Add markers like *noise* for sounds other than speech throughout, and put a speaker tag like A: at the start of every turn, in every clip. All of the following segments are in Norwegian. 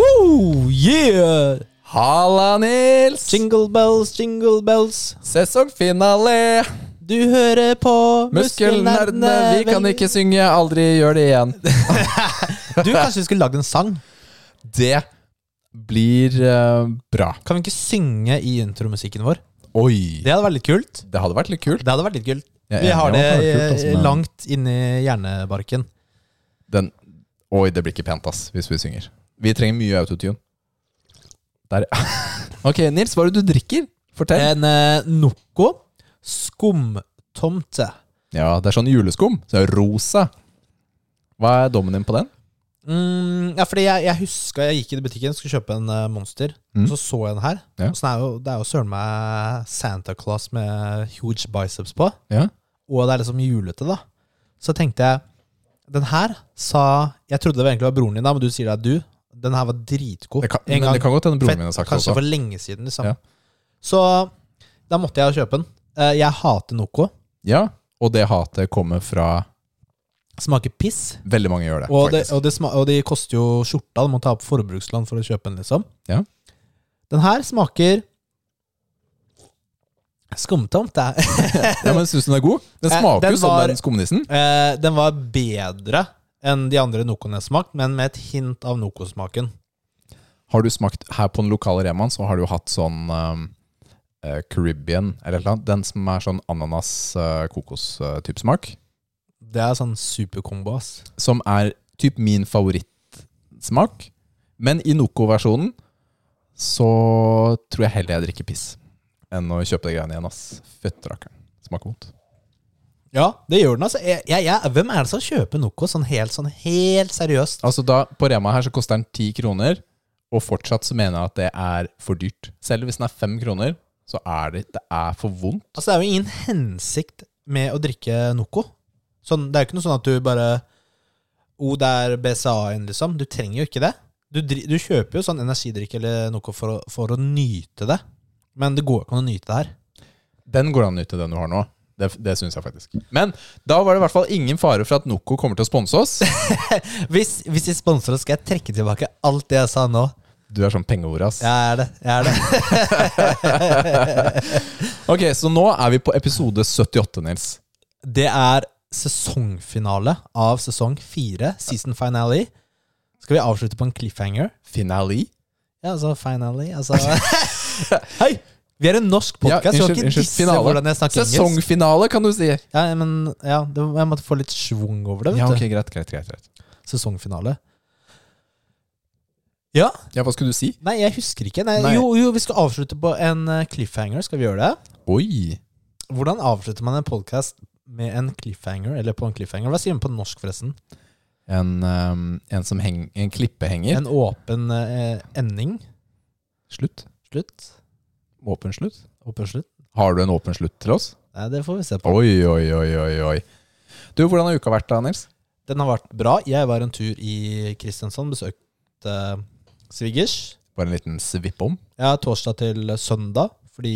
A: Oh, Yeah!
B: Halla, Nils!
A: Jingle bells, jingle bells.
B: Sesongfinale!
A: Du hører på
B: Muskelnerdene, vi kan ikke synge, aldri gjør det igjen.
A: *laughs* Du, kanskje vi skulle lagd en sang?
B: *laughs* Det blir eh, bra.
A: Kan vi ikke synge i intromusikken vår?
B: Oi!
A: Det hadde vært litt kult.
B: Det hadde vært litt kult.
A: Det hadde vært litt kult.
B: Jeg er
A: Vi
B: enig,
A: har det
B: det hadde vært kult, altså, men-
A: langt inni hjernebarken.
B: Den Oi, det blir ikke pent, ass, hvis vi synger. Vi trenger mye autotune. Der. *laughs* ok, Nils, hva er det du drikker? Fortell.
A: En eh, Noco skumtomte.
B: Ja, det er sånn juleskum. Så det er rosa. Hva er dommen din på den?
A: Mm, ja, fordi jeg, jeg huska jeg gikk i butikken skulle kjøpe en eh, Monster.
B: Mm.
A: Så så jeg den her.
B: Ja.
A: Og så er jo, det er jo søren meg Santa Claus med huge biceps på.
B: Ja.
A: Og det er liksom julete, da. Så tenkte jeg Den her sa Jeg trodde det egentlig var broren din, da, men du sier det er du. Den her var dritgod.
B: Det kan,
A: En
B: men
A: gang-
B: det kan godt hende broren
A: for-
B: min har sagt det
A: Kanskje
B: også.
A: for lenge siden, liksom.
B: Ja.
A: Så da måtte jeg jo kjøpe den. Eh, Jeg hater Noco.
B: Ja, og det hatet kommer fra
A: Smaker piss.
B: Veldig mange gjør det,
A: Og det,
B: faktisk.
A: og, det sma og de koster jo skjorta. Du må ta opp forbrukslån for å kjøpe den, liksom.
B: Ja.
A: Den her smaker skumtomt. det er-
B: ja, men Syns du den er god? Den
A: Eh,
B: smaker
A: den
B: jo som
A: var-
B: den skumnissen.
A: Eh, den var bedre enn de andre Nocoene jeg har smakt, men med et hint av Noco-smaken.
B: Har du smakt her på den lokale Remaen, så har du jo hatt sånn um, eh, Caribbean eller noe. Den som er sånn ananas-kokos-type eh, smak.
A: Det er sånn superkombo, ass.
B: Som er typ min favorittsmak. Men i Noco-versjonen så tror jeg heller jeg drikker piss enn å kjøpe de greiene igjen, ass. Fytterakkeren. Smaker vondt.
A: Ja, det gjør den, altså. Jeg, jeg, jeg, hvem er det som kjøper Noco sånn helt, sånn helt seriøst?
B: Altså da, På Rema her så koster den 10 kroner, og fortsatt så mener jeg at det er for dyrt. Selv hvis den er 5 kroner, så er det, det er for vondt.
A: Altså, det er jo ingen hensikt med å drikke Noco. Sånn, det er jo ikke noe sånn at du bare O, det er BCA-en, liksom. Du trenger jo ikke det. Du, dri- du kjøper jo sånn energidrikk eller Noco for, å- for å nyte det. Men det går jo ikke an å nyte det her.
B: Den går an ut til den du har nå. Det, det syns jeg faktisk. Men da var det i hvert fall ingen fare for at Noco kommer til å sponse *laughs* oss.
A: Hvis, hvis de sponser oss, skal jeg trekke tilbake alt det jeg sa nå.
B: Du er sånn pengeord, ass.
A: Jeg er det. jeg er det *laughs*
B: Ok, Så nå er vi på episode 78, Nils.
A: Det er sesongfinale av sesong fire, season finale. Skal vi avslutte på en cliffhanger?
B: Finale.
A: Ja, altså finale
B: *laughs*
A: altså. Hei! Vi er en norsk podkast,
B: Ja,
A: vi kan
B: unnskyld,
A: ikke
B: unnskyld,
A: disse
B: finale.
A: hvordan jeg snakker engelsk.
B: Sesongfinale, kan du si.
A: Ja, men ja, det, Jeg måtte få litt schwung over det. vet
B: Ja, ok,
A: du
B: greit, greit, greit, greit.
A: Sesongfinale. Ja.
B: Ja, Hva skulle du si?
A: Nei, jeg husker ikke. Nei,
B: Nei.
A: Jo, jo, vi skal avslutte på en eh, cliffhanger. Skal vi gjøre det?
B: Oi.
A: Hvordan avslutter man en podkast med en cliffhanger? Eller på en cliffhanger? Hva sier man på norsk, forresten?
B: En, ehm, en, som heng, en klippehenger.
A: En åpen eh, ending?
B: Slutt.
A: Slutt?
B: Åpen slutt.
A: Åpen slutt?
B: Har du en åpen slutt til oss?
A: Nei, det får vi se på.
B: Oi, oi, oi, oi, oi. Du, hvordan har uka vært da, Nils?
A: Den har vært bra. Jeg var en tur i Kristiansand, besøkte eh, svigers.
B: Bare en liten svipp om.
A: Ja, torsdag til søndag, fordi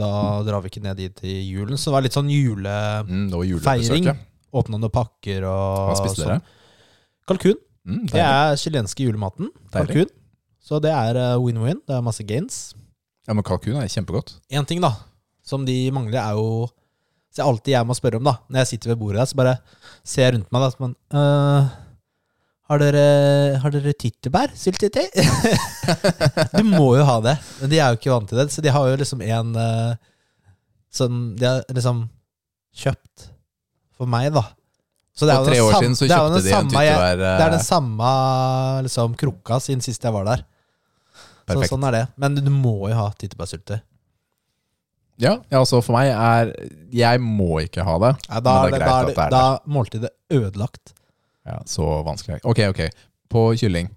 A: da drar vi ikke ned dit i julen. Så det var litt sånn julefeiring.
B: Mm, det var julebesøket.
A: Åpna noen pakker og
B: Hva spiste dere?
A: sånn. Kalkun.
B: Mm,
A: Det
B: deilig.
A: er chilenske julematen.
B: Deilig.
A: Kalkun. Så det er eh, win-win. Det er masse gains.
B: Ja, men kalkun er kjempegodt.
A: En ting da, som de mangler er jo Så jeg alltid jeg må spørre om da Når jeg sitter ved bordet der, så bare ser jeg rundt meg da så man, «Øh, har dere, har dere tyttebær, syltetøy? *laughs* du må jo ha det Men de er jo ikke vant til det Så de har jo liksom en eh, Som de har liksom kjøpt For meg da Så det er jo
B: For
A: den
B: tre år
A: sam-
B: siden
A: det
B: så
A: er jo den
B: kjøpte de en
A: samme jeg-
B: tyttebær.
A: Det er
B: eh,
A: den samme liksom, krukka siden sist jeg var der så,
B: Perfekt.
A: Sånn er det Men du må jo ha tyttebærsyltetøy
B: Ja, ja, altså for meg er Jeg må ikke ha det.
A: Ja, da,
B: Men
A: er det,
B: det er
A: da, er
B: greit
A: det,
B: at det er
A: da er måltidet ødelagt.
B: Ja, så vanskelig. Ok, ok. På kylling,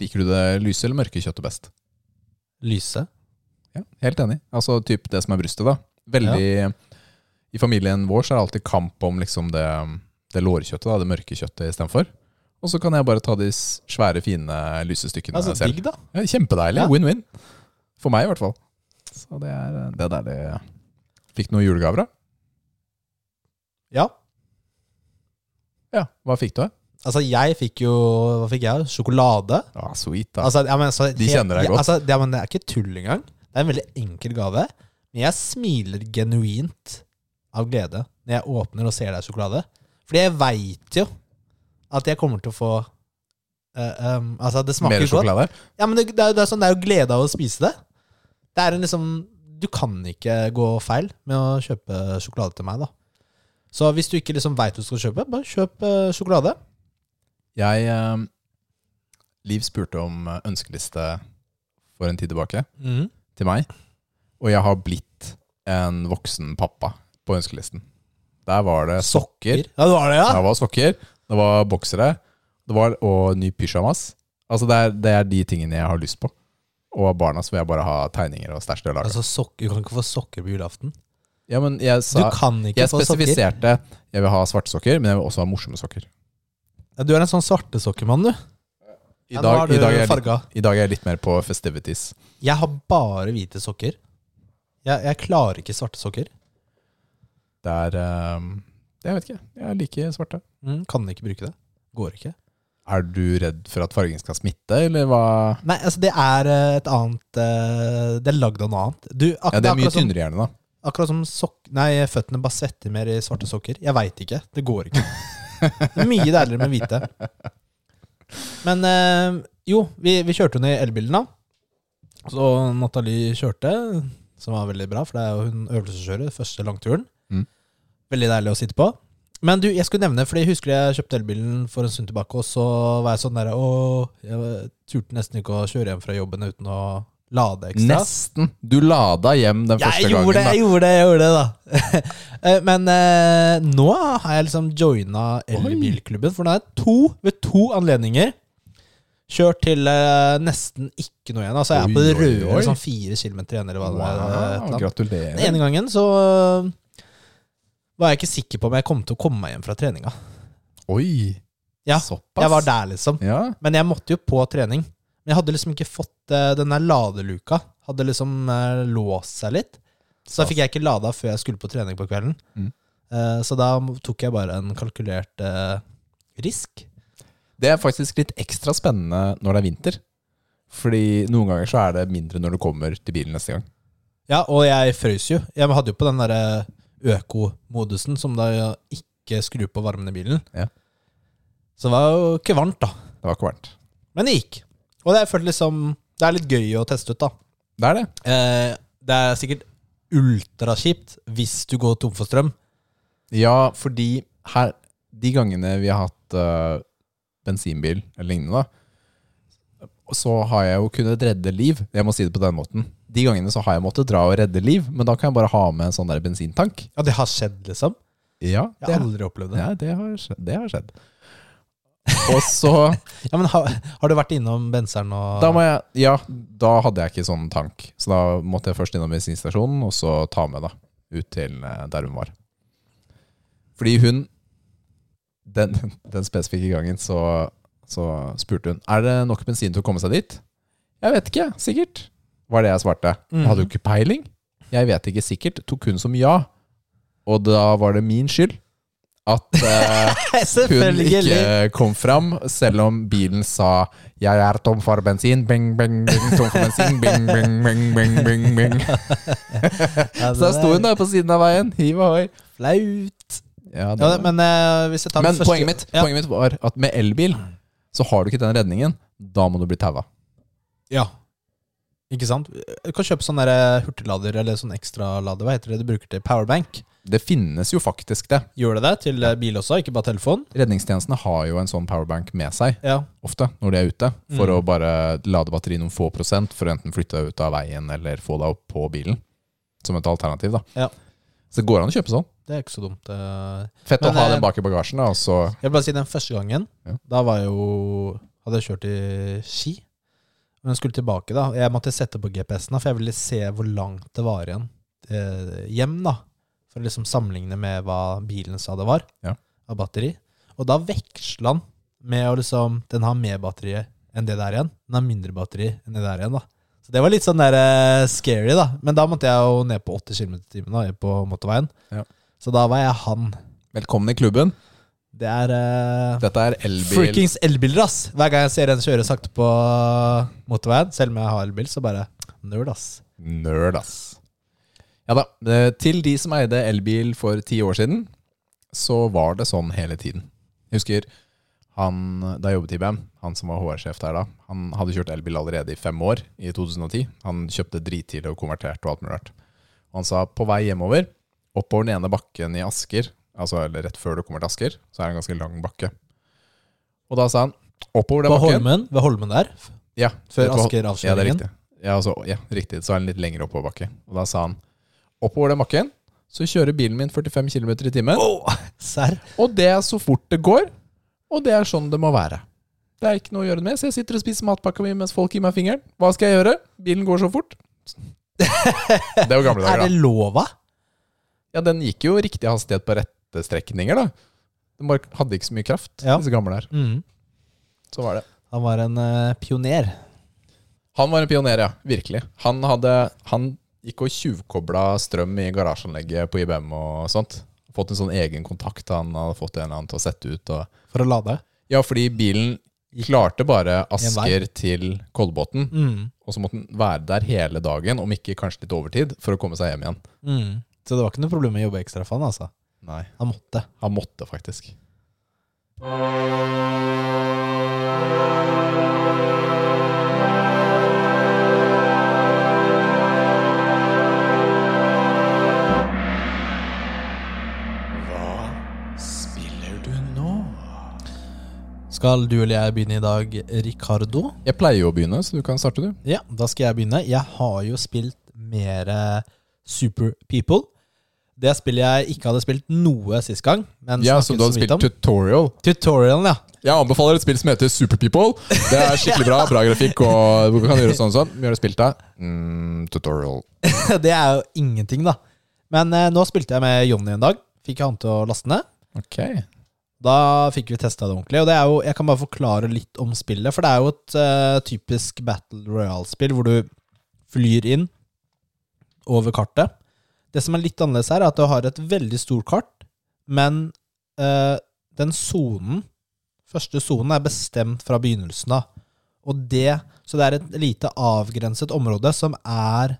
B: liker du det lyse eller mørke kjøttet best?
A: Lyse.
B: Ja, Helt enig. Altså typ det som er brystet, da. Veldig I familien vår så er det alltid kamp om liksom det, det lårkjøttet, da, det mørke kjøttet istedenfor. Og så kan jeg bare ta de s- svære, fine, lyse stykkene
A: Altså,
B: selv.
A: digg, da.
B: Ja, kjempedeilig.
A: Ja.
B: Win-win. For meg, i hvert fall. Så det er,
A: eh,
B: det er deilig. Fikk du noen julegaver, da?
A: Ja.
B: Ja. Hva fikk du?
A: Altså, jeg fikk jo Hva fikk jeg? Sjokolade.
B: Ja, sweet, da.
A: Altså, ja, men, så,
B: De kjenner deg
A: ja,
B: godt.
A: Altså, det, ja, men det er ikke tull engang. Det er en veldig enkel gave. Men jeg smiler genuint av glede når jeg åpner og ser deg sjokolade. Fordi jeg veit jo at jeg kommer til å få eh, um, Altså, det smaker
B: Mer
A: godt.
B: sjokolade?
A: Ja, men det, det, er, jo- det, er sånn, det er jo glede av å spise det. Det er en liksom Du kan ikke gå feil med å kjøpe sjokolade til meg, da. Så hvis du ikke liksom veit du skal kjøpe, bare kjøp eh, sjokolade.
B: Jeg eh, Liv spurte om eh, ønskeliste for en tid tilbake til meg, og jeg har blitt en voksen pappa på ønskelisten. Der var det sokker.
A: Ja, det var det, ja!
B: Det var sokker, det var boksere, det var og ny pyjamas. Altså det er, det er de tingene jeg har lyst på. Og av barna så vil jeg bare ha tegninger og stæsj til å lage.
A: Altså, sokker, Du kan ikke få sokker på julaften.
B: ja, men jeg
A: Du
B: sa,
A: kan ikke
B: jeg
A: få sokker.
B: spesifiserte jeg vil ha svarte sokker, men jeg vil også ha morsomme sokker.
A: Ja, Du er en sånn svartesokkemann, du.
B: I
A: Ja, nå
B: dag,
A: har du
B: i, dag er jeg litt,
A: farga.
B: I dag er jeg litt mer på festivities.
A: Jeg har bare hvite sokker. Jeg, jeg klarer ikke svarte sokker.
B: Det er ehm, Jeg vet ikke. Jeg liker svarte.
A: Mm, kan ikke bruke det. Går ikke.
B: Er du redd for at fargen skal smitte, eller hva?
A: Nei, altså, det er eh, et annet eh, Det er lagd av noe annet. Du, ak
B: Ja, Det er mye
A: akkurat som-
B: tynnere gjerne, da.
A: Akkurat som sok nei, føttene bare svetter mer i svarte sokker. Jeg veit ikke. Det går ikke. Det er Mye deiligere med hvite. Men eh, jo, vi, vi kjørte henne i elbilen, da. Så Nathalie kjørte, som var veldig bra, for det er jo hun øvelseskjører første langturen.
B: Mm.
A: Veldig deilig å sitte på. Men du, jeg skulle nevne, for jeg husker jeg kjøpte elbilen for en stund tilbake, og så var jeg sånn derre Å, jeg turte nesten ikke å kjøre hjem fra jobben uten å lade ekstra.
B: Nesten. Du lada hjem den første
A: Jeg gjorde det,
B: gangen.
A: jeg gjorde det, jeg gjorde det, da. *laughs* Eh, Men eh, nå har jeg liksom joina elbilklubben, for nå har jeg to, ved to anledninger kjørt til eh, nesten ikke noe igjen. Altså jeg er på
B: Oi,
A: det
B: oi,
A: røde,
B: oi.
A: sånn fire kilometer igjen, eller hva det var. eh, et eller
B: Wow,
A: annet.
B: gratulerer.
A: Den ene gangen så eh, var jeg ikke sikker på om jeg kom til å komme meg hjem fra treninga.
B: Oi,
A: Ja,
B: såpass.
A: Jeg var der, liksom.
B: Ja,
A: Men jeg måtte jo på trening. Men jeg hadde liksom ikke fått eh, den der ladeluka. Hadde liksom eh, låst seg litt. Så da fikk jeg ikke lada før jeg skulle på trening på kvelden.
B: Mm.
A: Eh, så da tok jeg bare en kalkulert eh, risk.
B: Det er faktisk litt ekstra spennende når det er vinter. Fordi noen ganger så er det mindre når du kommer til bilen neste gang.
A: Ja, og jeg frøs jo. Jeg hadde jo på den derre økomodusen som da ikke skrur på varmen i bilen.
B: Ja.
A: Så det var jo ikke varmt, da.
B: Det var ikke varmt.
A: Men det gikk. Og det, jeg følte liksom, det er litt gøy å teste ut, da.
B: Det er det.
A: Eh, det er sikkert ultrakjipt hvis du går tom for strøm.
B: Ja, fordi her De gangene vi har hatt øh, bensinbil eller lignende, da, så har jeg jo kunnet redde liv. Jeg må si det på den måten. De gangene så har jeg måttet dra og redde liv, men da kan jeg bare ha med en sånn der bensintank.
A: Ja, det har skjedd, liksom.
B: Ja,
A: Jeg
B: det,
A: har aldri opplevd det.
B: ja, det, har, skjedd, det har *laughs* skjedd. Og så
A: Ja, men har, har du vært innom benseren og *laughs*
B: Da må jeg, ja, da hadde jeg ikke sånn tank. Så da måtte jeg først innom bensinstasjonen, og så ta med da, ut til eh, der hun var. Fordi hun, den, *laughs* den spesifikke gangen, så, så spurte hun, er det nok bensin til å komme seg dit? Jeg vet ikke, sikkert, var det jeg svarte. Jeg hadde jo ikke peiling. Jeg vet ikke sikkert, tok hun som ja. Og da var det min skyld at... eh, hun ikke kom fram, selv om bilen sa 'jeg er tom for bensin', bing, bing, bing, tom for
A: *laughs*
B: bensin, bing, bing, bing, bing, bing, bing.
A: Ja,
B: Så da sto hun der på siden av veien, hiv ahoi.
A: Flaut.
B: Ja, det
A: Ja,
B: var-
A: det- men eh, hvis jeg tar den
B: men
A: første-
B: poenget, mitt,
A: ja.
B: poenget mitt var at med elbil så har du ikke den redningen. Da må du bli taua.
A: ja. Ikke sant? Du kan kjøpe sånn der hurtiglader eller sånn ekstralader. Hva heter det du bruker til powerbank?
B: Det finnes jo faktisk det.
A: Gjør det det til eh, bil også, ikke bare telefon?
B: Redningstjenestene har jo en sånn powerbank med seg
A: Ja.
B: ofte når de er ute, for
A: Mm.
B: å bare lade batteriet noen få prosent for å enten flytte deg ut av veien eller få deg opp på bilen. Som et alternativ, da.
A: Ja.
B: Så det går an å kjøpe sånn.
A: Det er ikke så dumt. eh.
B: Fett
A: Men,
B: å ha
A: eh,
B: den bak i bagasjen, da. Og så
A: Jeg vil bare si den første gangen,
B: Ja.
A: da var jeg jo Hadde jeg kjørt i Ski. Men jeg skulle tilbake, da. Jeg måtte sette på GPS-en, da, for jeg ville se hvor langt det var igjen eh, hjem, da. For å liksom sammenligne med hva bilen sa det var
B: Ja.
A: av batteri. Og da veksla han med å liksom Den har mer batteri enn det der igjen. Den har mindre batteri enn det der igjen, da. Så det var litt sånn der eh, scary, da. Men da måtte jeg jo ned på 80 km i timen da, på motorveien.
B: Ja.
A: Så da var jeg han.
B: velkommen i klubben.
A: Det er eh,
B: Dette er elbil.
A: Freakings elbiler, ass! Hver gang jeg ser en kjøre sakte på motorveien, selv om jeg har elbil, så bare Nerd, ass.
B: Nerd, ass. Ja da. eh, Til de som eide elbil for ti år siden, så var det sånn hele tiden. Jeg husker han, da jeg jobbet i IBM, han som var HR-sjef der da, han hadde kjørt elbil allerede i fem år, i 2010. Han kjøpte drittidlig og konverterte og alt mulig rart. Og Han sa på vei hjemover, oppover den ene bakken i Asker, altså eller rett før du kommer til Asker, så er det en ganske lang bakke. Og da sa han oppover den
A: På
B: bakken
A: Holmen, ved Holmen der.
B: ja,
A: Før
B: det var- Ja, det er
A: Asker-avkjøringen.
B: riktig. Ja, altså, ja, riktig. Så er den litt lengre oppoverbakke. Og da sa han oppover den bakken så kjører bilen min 45 km i timen.
A: Åh, Serr?
B: Og det er så fort det går. Og det er sånn det må være. Det er ikke noe å gjøre det med, så jeg sitter og spiser matpakka mi mens folk gir meg fingeren. Hva skal jeg gjøre? Bilen går så fort. Det var gamle
A: Er
B: dager,
A: det
B: da.
A: lova?
B: Ja, den gikk jo riktig hastighet på rette strekninger, da. Den bare hadde ikke så mye kraft,
A: Ja.
B: disse gamle der.
A: Mm.
B: Så var det.
A: Han var en eh, pioner.
B: Han var en pioner, ja. Virkelig. Han, hadde, han gikk og tjuvkobla strøm i garasjeanlegget på IBM og sånt. Fått en sånn egen kontakt han hadde fått en eller annen til å sette ut. Og...
A: For å lade.
B: Ja, fordi bilen klarte bare
A: I
B: Asker til Kolbotn,
A: Mm.
B: og så måtte den være der hele dagen, om ikke kanskje litt overtid, for å komme seg hjem igjen.
A: Mm. Så det var ikke noe problem med å jobbe ekstra for han, altså.
B: Nei,
A: Han måtte.
B: han måtte faktisk. Hva spiller du nå?
A: Skal du eller jeg begynne i dag, Ricardo?
B: Jeg pleier jo å begynne, så du kan starte, du.
A: Ja, da skal jeg begynne. Jeg har jo spilt mer eh, Super People. Det spillet jeg ikke hadde spilt noe sist gang. Men
B: Ja, så
A: snakket
B: du hadde
A: så vidt
B: spilt
A: om.
B: tutorial.
A: Tutorialen, ja. *laughs*
B: Jeg anbefaler et spill som heter Super People. Det er skikkelig bra. Bra grafikk og du kan gjøre sånn og sånn. Mye har du spilt av? Mm, tutorial.
A: det er jo ingenting, da. Men eh, nå spilte jeg med Jonny en dag. Fikk han til å laste ned.
B: Ok.
A: Da fikk vi testa det ordentlig. Og det er jo, jeg kan bare forklare litt om spillet, for det er jo et eh, typisk Battle Royale-spill hvor du flyr inn over kartet. Det som er litt annerledes her, er at du har et veldig stort kart, men eh, den sonen, første sonen, er bestemt fra begynnelsen av. Og det, så det er et lite avgrenset område som er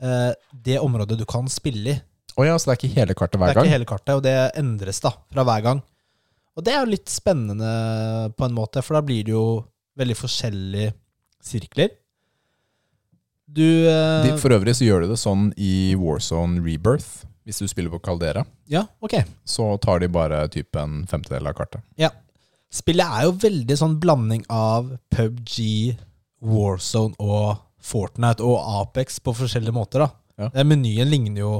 A: eh, det området du kan spille i.
B: Å ja, så det er ikke hele kartet hver
A: Det er
B: gang?
A: ikke hele kartet, og det endres da, fra hver gang. Og det er jo litt spennende på en måte, for da blir det jo veldig forskjellige sirkler. Du eh,
B: De, for øvrig så gjør du det sånn i Warzone Rebirth. Hvis du spiller på Caldera,
A: Ja, ok.
B: så tar de bare typ en femtedel av kartet.
A: Ja. Spillet er jo veldig sånn blanding av PubG, Warzone og Fortnite og Apex på forskjellige måter, da.
B: Ja.
A: Eh, Menyen ligner jo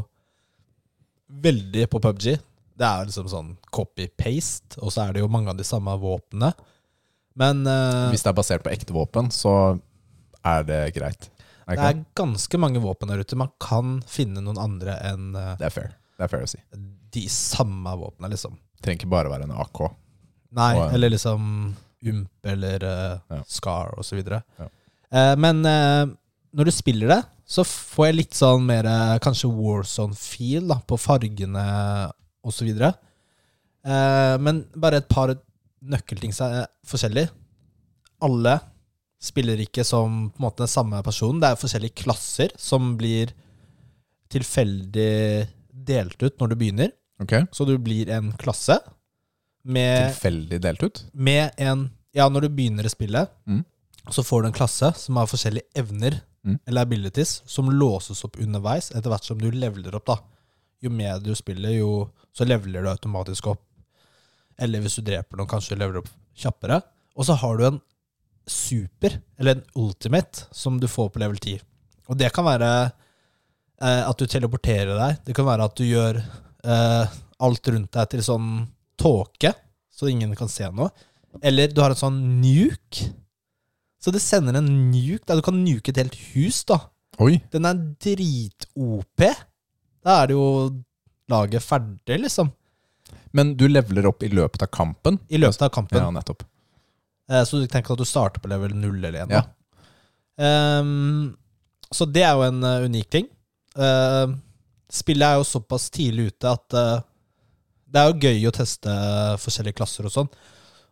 A: veldig på PubG. Det er jo liksom sånn copy-paste, og så er det jo mange av de samme våpnene. Men eh,
B: Hvis det er basert på ekte våpen, så er det greit. Er
A: Det
B: ikke
A: er ganske mange våpen der ute. Man kan finne noen andre enn eh,
B: det er fair. Det er fair å si.
A: de samme våpnene, liksom.
B: Trenger ikke bare være en AK.
A: Nei,
B: Og, eh,
A: eller liksom UMP eller eh,
B: Ja.
A: SCAR og så videre.
B: Ja.
A: Eh, men eh, når du spiller det, så får jeg litt sånn mer eh, kanskje Warzone-feel da, på fargene og så videre. Eh, men bare et par nøkkelting som er forskjellig. Alle spiller ikke som på en måte den samme personen. Det er forskjellige klasser som blir tilfeldig delt ut når du begynner.
B: Ok?
A: Så du blir en klasse med
B: Tilfeldig delt ut.
A: med en Ja, når du begynner å spille,
B: Mm.
A: så får du en klasse som har forskjellige evner
B: Mm.
A: eller abilities som låses opp underveis etter hvert som du leveler opp. da. Jo mer du spiller, jo så leveler du automatisk opp. Eller hvis du dreper noen, kanskje du leveler opp kjappere. Og så har du en super, eller en ultimate, som du får på level 10. Og det kan være eh, at du teleporterer deg. Det kan være at du gjør eh, alt rundt deg til sånn tåke, så ingen kan se noe. Eller du har en sånn nuke. Så det sender en nuke. Da. Du kan nuke et helt hus, da.
B: Oi.
A: Den er drit-OP. Da er det jo laget ferdig, liksom.
B: Men du leveler opp i løpet av kampen.
A: I løpet av kampen.
B: Ja, nettopp.
A: Eh, Så du tenker at du starter på level 0 eller 1.
B: Ja.
A: så det er jo en Ehm, eh, unik ting. Eh, spillet er jo såpass tidlig ute at eh, Det er jo gøy å teste forskjellige klasser og sånn.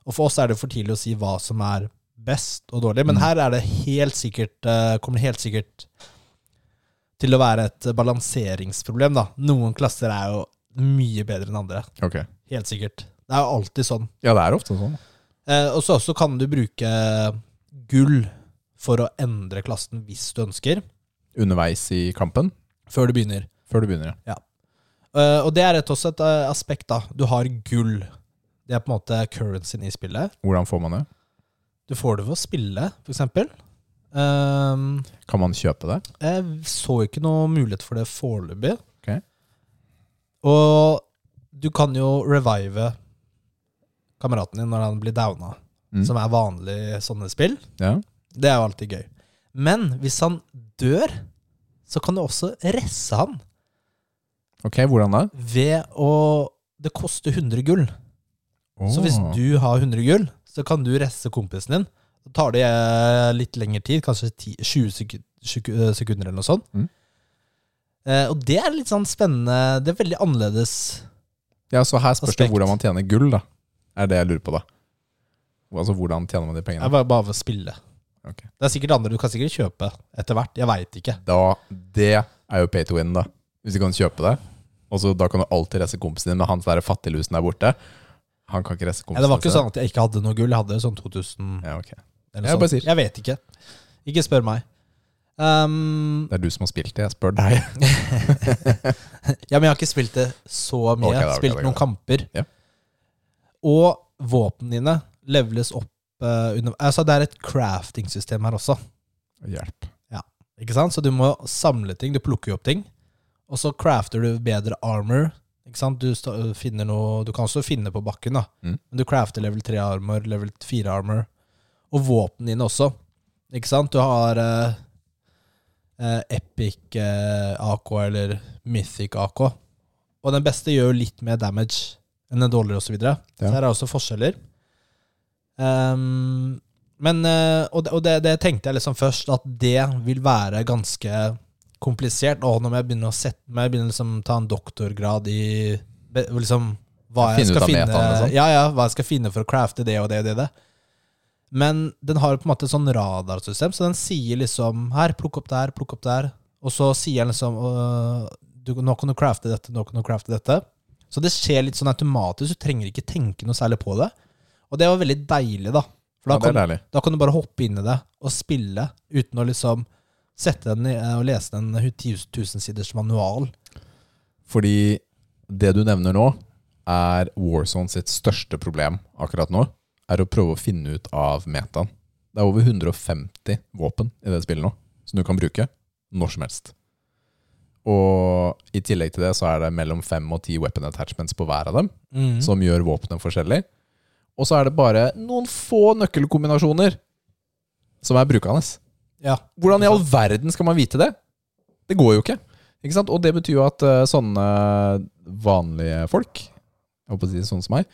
A: Og for oss er det for tidlig å si hva som er best og dårlig, men
B: Mm.
A: her er det helt sikkert, eh, kommer det helt sikkert til å være et balanseringsproblem, da. Noen klasser er jo mye bedre enn andre.
B: Ok.
A: Helt sikkert. Det er jo alltid sånn.
B: Ja, det er ofte sånn.
A: Eh, og så også kan du bruke gull for å endre klassen hvis du ønsker,
B: Underveis i kampen,
A: før du begynner.
B: før du begynner. ja.
A: Eh, og det er et, også et eh, aspekt, da. Du har gull. Det er på en måte currencyen i spillet.
B: Hvordan får man det?
A: Du får det ved å spille, for eksempel. Ehm,
B: Kan man kjøpe det?
A: jeg så ikke noe mulighet for det foreløpig.
B: Ok.
A: Og du kan jo revive kameraten din når han blir downa,
B: Mm.
A: som er vanlig i sånne spill.
B: Ja.
A: Det er jo alltid gøy. Men hvis han dør, så kan du også resse han
B: Ok, hvordan da?
A: ved å Det koster 100 gull. Så hvis
B: Åh.
A: du har 100 gull, så kan du resse kompisen din. Da tar det eh, litt lengre tid, kanskje 10, 20 sek- sek- eh, sekunder eller noe sånt.
B: Mm.
A: Eh, og det er litt sånn spennende. Det er veldig annerledes.
B: Ja, så her spørs det
A: Aspekt.
B: hvordan man tjener gull, da. Er det jeg lurer på, da. Altså, hvordan tjener man de pengene?
A: Jeg var bare ved å spille.
B: Ok.
A: Det er sikkert andre du kan sikkert kjøpe etter hvert. Jeg veit ikke.
B: Da, det er jo pay to win, da. Hvis du kan kjøpe det. Og så da kan du alltid resse kompisen din, men han der fattiglusen der borte, han kan ikke resse
A: Ja,
B: kompisen
A: det var ikke
B: sin.
A: sånn at jeg ikke hadde noe gull. Jeg hadde sånn 2000
B: Ja, ok.
A: eller
B: Jeg
A: sånt.
B: bare sier.
A: Jeg vet ikke. Ikke spør meg. Ehm,
B: Det er du som har spilt det, jeg spør deg.
A: Ja, men jeg har ikke spilt det så mye.
B: Ok, da, ok,
A: spilt
B: da,
A: noen
B: ok, da.
A: kamper.
B: Ja.
A: Og våpnene dine leveles opp eh, under Altså, det er et crafting-system her også,
B: Hjelp.
A: ikke sant? Så du må samle ting. Du plukker jo opp ting. Og så crafter du bedre armor. Ikke sant? Du sta- øh, finner noe Du kan også finne på bakken, da.
B: Mm.
A: Men du crafter level 3 armor, level 4 armor. Og våpnene dine også. Ikke sant? Du har eh, eh, Epic eh, AK eller Mythic AK. Og den beste gjør jo litt mer damage enn den dårligere osv. Så, videre. så
B: Ja.
A: her er også forskjeller. Ehm, men, eh, og det, og det, det tenkte jeg liksom først, at det vil være ganske komplisert. Og nå må jeg begynne å sette meg, begynne liksom ta en doktorgrad i be- liksom, hva jeg
B: Finne ut
A: skal
B: av
A: finne,
B: metaen, liksom.
A: ja, ja, hva jeg skal finne for å crafte det og det og det. og det. Men den har på en måte et sånn radarsystem, så den sier liksom Her, plukk opp der, plukk opp der. Og så sier den liksom «Øh, du, Nå kan du crafte dette, nå kan du crafte dette. Så det skjer litt sånn automatisk, du trenger ikke tenke noe særlig på det. Og det var veldig deilig, da. For da,
B: Ja, det er
A: kan,
B: deilig.
A: da kan du bare hoppe inn i det og spille uten å liksom sette den i, og lese den 1000 siders manual.
B: Fordi det du nevner nå, er Warzone sitt største problem akkurat nå, er å prøve å finne ut av metaen. Det er over 150 våpen i det spillet nå, som du kan bruke når som helst. Og i tillegg til det så er det mellom fem og ti weapon attachments på hver av dem,
A: Mm.
B: som gjør våpenet forskjellig. Og så er det bare noen få nøkkelkombinasjoner som er brukende.
A: Ja.
B: Hvordan i all verden skal man vite det? Det går jo ikke. ikke sant? Og det betyr jo at eh, sånne vanlige folk, jeg holdt på å si sånn som meg,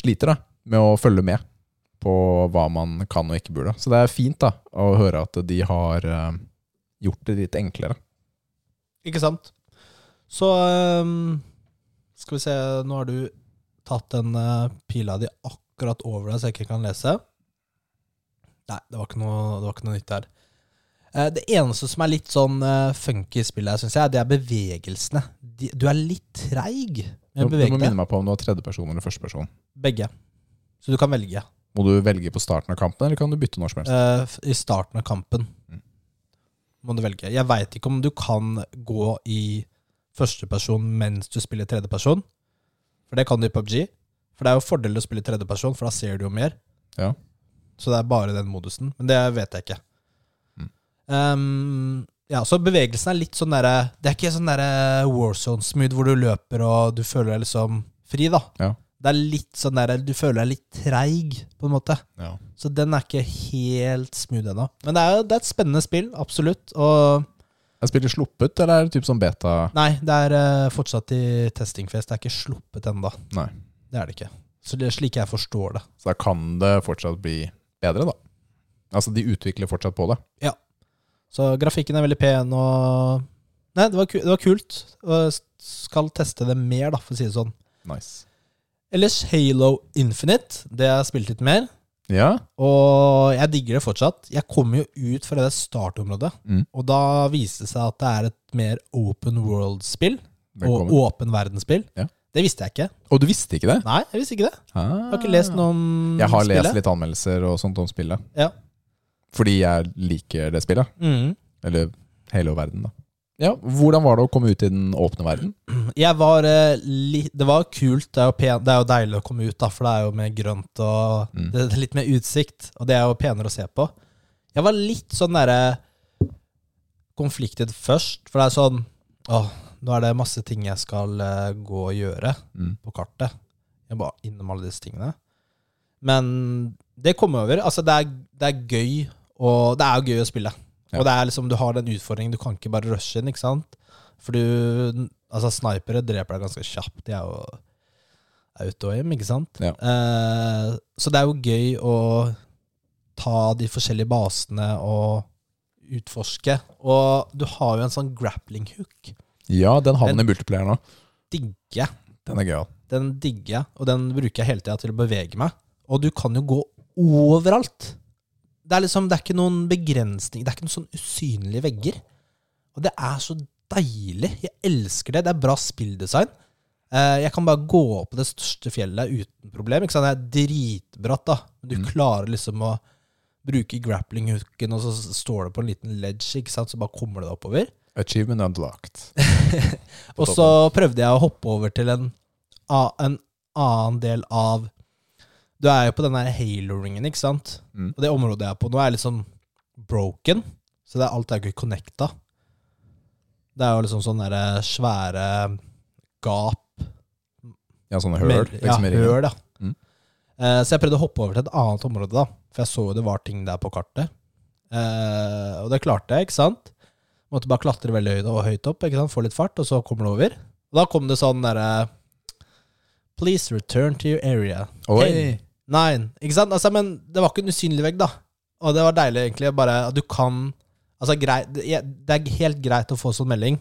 B: sliter da med å følge med på hva man kan og ikke burde. Så det er fint da å høre at de har eh, gjort det litt enklere.
A: Ikke sant? Så øhm, skal vi se, nå har du tatt den øh, pila di akkurat over deg, så jeg ikke kan lese. Nei, det var ikke noe, det var ikke noe nytt der. Eh, Det eneste som er litt sånn eh, funky i spillet, her, synes jeg, det er bevegelsene. De, du er litt treig
B: Du,
A: med å
B: du må
A: bevege
B: minne
A: deg.
B: meg på om du har tredjeperson eller førsteperson.
A: Begge. Så du kan velge
B: Må du velge på starten av kampen, eller kan du bytte når som helst?
A: eh, f- i starten av kampen.
B: Mm.
A: Må du velge. Jeg veit ikke om du kan gå i førsteperson mens du spiller tredjeperson. For det kan du i PubG. For det er jo fordel å spille tredjeperson, for da ser du jo mer.
B: Ja.
A: Så det er bare den modusen. Men det vet jeg ikke.
B: Mm.
A: Ehm, ja, så bevegelsen er litt sånn derre Det er ikke sånn derre Warzone-smooth hvor du løper og du føler deg liksom fri, da.
B: Ja.
A: Det er litt sånn derre Du føler deg litt treig, på en måte.
B: Ja.
A: Så den er ikke helt smooth ennå. Men det er, jo- det er et spennende spill, absolutt. Og
B: Er spillet sluppet, eller er det typ sånn beta?
A: nei, det er eh, fortsatt i testingfest. Det er ikke sluppet ennå.
B: Nei.
A: Det er det ikke. Så det er slik jeg forstår det.
B: Så da kan det fortsatt bli bedre, da. Altså, de utvikler fortsatt på det.
A: Så grafikken er veldig pen, og Nei, det var, ku det var kult. Og jeg s- skal teste det mer, da, for å si det sånn.
B: Nice.
A: Ellers Halo Infinite. Det har jeg spilt litt mer.
B: Ja.
A: Og jeg digger det fortsatt. Jeg kom jo ut fra det der startområdet,
B: Mm.
A: og da viste det seg at det er et mer open world-spill. Og
B: Velkommen. Og,
A: åpen verdensspill.
B: Ja.
A: Det visste jeg ikke.
B: du visste ikke det?
A: Nei, jeg visste ikke det.
B: Ah.
A: Jeg har ikke lest noe om
B: Jeg har
A: spillet.
B: lest litt anmeldelser og sånt om spillet.
A: Ja.
B: Fordi jeg liker det spillet.
A: Mm.
B: Eller hele verden, da. Ja, Hvordan var det å komme ut i den åpne verden?
A: Jeg var eh, li Det var kult. Det er, jo pen, det er jo deilig å komme ut, da, for det er jo mer grønt og
B: Mm.
A: det, det er litt mer utsikt. Og det er jo penere å se på. Jeg var litt sånn derre konfliktet først, for det er sånn Åh, nå er det masse ting jeg skal eh, gå og gjøre
B: Mm.
A: på kartet. Jeg bare innom alle disse tingene. Men det kom over. Altså, det er, det er gøy, og det er jo gøy å spille.
B: Ja.
A: Og det er liksom, du har den utfordringen, du kan ikke bare rushe inn, ikke sant? For du Altså, snipere dreper deg ganske kjapt. De er jo auto-aim, ikke sant?
B: Ja.
A: Eh, så det er jo gøy å ta de forskjellige basene og utforske. Og du har jo en sånn grappling hook.
B: Ja, den har man i multiplayer nå.
A: Digger jeg.
B: Den er gøyal.
A: Den digger jeg, og den bruker jeg hele tida til å bevege meg. Og du kan jo gå overalt. Det er liksom, det er ikke noen begrensning. Det er ikke noen sånn usynlige vegger. Og det er så deilig. Jeg elsker det. Det er bra spilldesign. Eh, Jeg kan bare gå opp på det største fjellet uten problem. Ikke sant? Det er dritbratt, da. Du
B: Mm.
A: klarer liksom å bruke grappling-hooken, og så står du på en liten ledge, ikke sant? så bare kommer du deg oppover.
B: Achievement unlocked.
A: Og så prøvde jeg å hoppe over til en, a- en annen del av Du er jo på den der halo-ringen, ikke sant?
B: Mm.
A: Og det området jeg er på nå, er litt sånn broken. Så det er, alt er jo ikke connecta. Det er jo liksom sånne der svære gap
B: Ja, sånne høl.
A: Mel-
B: Liksom
A: ja,
B: i ringen.
A: høl, ja.
B: Mm.
A: Eh, så jeg prøvde å hoppe over til et annet område, da. For jeg så jo det var ting der på kartet. Eh, og det klarte jeg, ikke sant? Måtte bare klatre veldig høyt, og høyt opp, ikke sant? få litt fart, og så kommer det over. Og da kom det sånn derre Please return to your area.
B: Oi!
A: Nei, ikke sant? Altså, men det var ikke en usynlig vegg, da. Og det var deilig, egentlig. Bare at du kan Altså, grei, det er- det er helt greit å få sånn melding.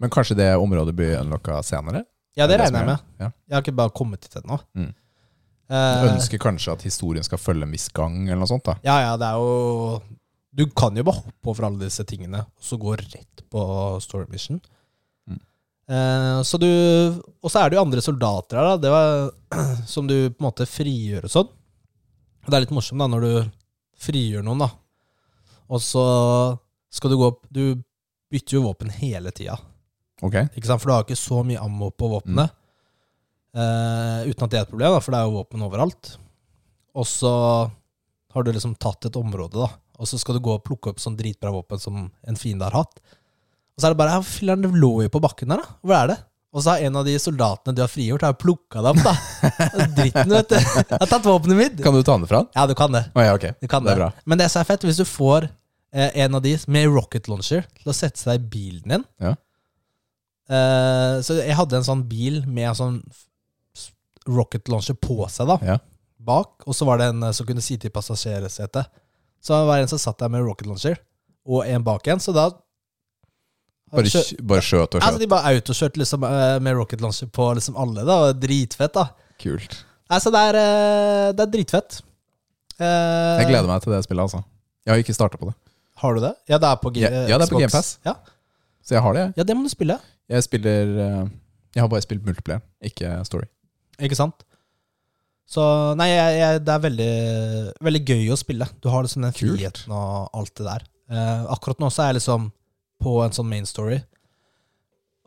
B: Men kanskje det området blir unlocka senere?
A: Ja, det
B: Er som
A: regner jeg med.
B: er- Ja.
A: Jeg har ikke bare kommet dit ennå.
B: Mm.
A: Eh,
B: Ønsker kanskje at historien skal følge en viss gang, eller noe sånt. da
A: Ja, ja, det er jo Du kan jo bare hoppe over alle disse tingene, og så gå rett på Story Mission.
B: Mm.
A: Eh, så du Og så er det jo andre soldater her, da. Det var, *clears throat* som du på en måte frigjør og sånn. Og det er litt morsomt, da, når du frigjør noen, da. Og så skal du gå opp Du bytter jo våpen hele tida.
B: Ok,
A: Ikke sant? For du har ikke så mye ammo på våpenet. Eh, uten at det er et problem, da, for det er jo våpen overalt. Og så har du liksom tatt et område, da. Og så skal du gå og plukke opp sånn dritbra våpen som en fiende har hatt. Og så er det bare Ja, filler'n, det lå jo på bakken der, da. Hvor er det? Og så har en av de soldatene du har frigjort, har plukka det opp, da. Dritten, vet du. Jeg har tatt våpenet mitt.
B: Kan du ta den fra han?
A: Ja, du kan det.
B: Å ja, ok.
A: Du kan
B: Det
A: det.
B: er bra.
A: Men det som er fett, hvis du får eh, en av de med rocket launcher til å sette seg i bilen din
B: Ja.
A: eh, Så jeg hadde en sånn bil med en sånn f- s- rocket launcher på seg, da.
B: Ja.
A: Bak. Og så var det en eh, som kunne sitte i passasjersetet. Så det var en som satt der med rocket launcher, og en bak en, så da
B: Bare, kj- bare skjøt og
A: Altså,
B: skjøt.
A: de bare autokjørte liksom, eh, med rocket launcher på liksom alle. da, og Dritfett, da.
B: Kult.
A: Nei, så det er, eh, det er dritfett. Eh,
B: Jeg gleder meg til det spillet, altså. Jeg har ikke starta på det.
A: Har du det? Ja, det er på, G
B: Ja, ja, det er på
A: Xbox.
B: Game Pass.
A: Ja.
B: Så jeg har det, jeg.
A: ja, det må du spille.
B: Jeg spiller eh, Jeg har bare spilt multiplayer, ikke story.
A: Ikke sant? Så nei, jeg, jeg, det er veldig, veldig gøy å spille. Du har liksom den
B: Kult.
A: friheten og alt det der. Eh, akkurat nå så er jeg liksom på en sånn main story.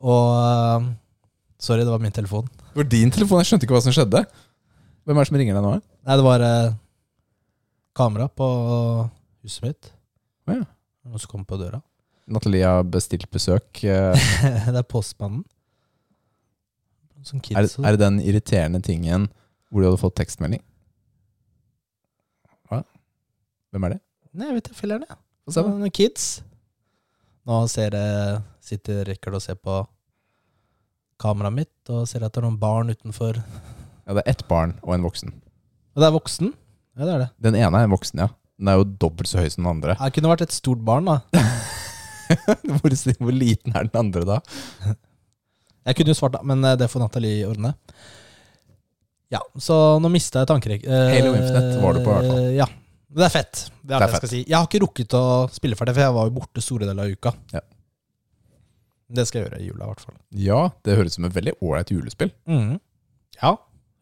A: Og eh, Sorry, det var min telefon.
B: Det var din telefon, jeg skjønte ikke hva som skjedde. Hvem er det som ringer deg nå?
A: Nei, det var eh, kamera på huset mitt.
B: Å ja.
A: Noen som kom på døra. *laughs*
B: Nathalie har bestilt besøk. *laughs* Eh,
A: det er postmannen. Sånn
B: Er,
A: kids. og-
B: er det den irriterende tingen hvor du hadde fått tekstmelding? Hva? Hvem er det?
A: Nei, jeg vet ikke, filler'n, jeg.
B: Få se,
A: Så
B: da.
A: noen kids. Nå ser jeg, sitter Rikard og ser på kameraet mitt og ser at det er noen barn utenfor.
B: Ja, det er ett barn og en voksen.
A: Og det er voksen. Ja, det er det.
B: Den ene er en voksen, ja. Den er jo dobbelt så høy som den andre. *laughs*
A: Jeg kunne vært et stort barn, da.
B: Hvor, hvor liten er den andre da?
A: Jeg kunne jo svart, da, men eh, det får Nathalie ordne. Ja, så nå mista jeg tankerekken.
B: Halo Infinite var du på, i hvert fall.
A: Ja. Men Det er fett. Det er det,
B: Det er
A: jeg skal si. Jeg har ikke rukket å spille ferdig, for jeg var jo borte store deler av uka.
B: Ja.
A: Det skal jeg gjøre i jula, i hvert fall.
B: Ja, det høres ut som et veldig ålreit julespill.
A: Mhm. Ja,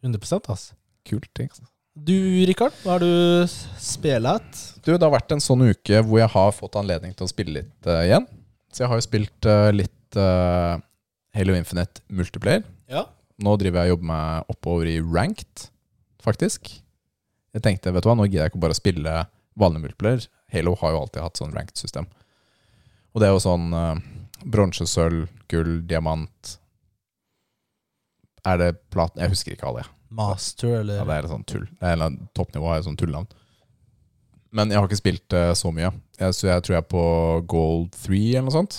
A: 100 altså.
B: Kult ting. altså.
A: Du, Rikard, hva har du s- spilt?
B: Du, det har vært en sånn uke hvor jeg har fått anledning til å spille litt eh, igjen. Så jeg har jo spilt eh, litt eh, Halo Infinite multiplayer.
A: Ja.
B: Nå driver jeg og jobber meg oppover i ranked, faktisk. Jeg tenkte, vet du hva, nå gidder jeg ikke bare å spille vanlig multiplayer. Halo har jo alltid hatt sånn ranked system. Og det er jo sånn eh, bronse, sølv, gull, diamant Er det platen? Jeg husker ikke alle, jeg.
A: Master, eller
B: Ja, det er et sånt tull. Det er en eller annen toppnivå er et sånt tullnavn. Men jeg har ikke spilt eh, så mye. Jeg, så jeg tror jeg er på goal 3 eller noe sånt.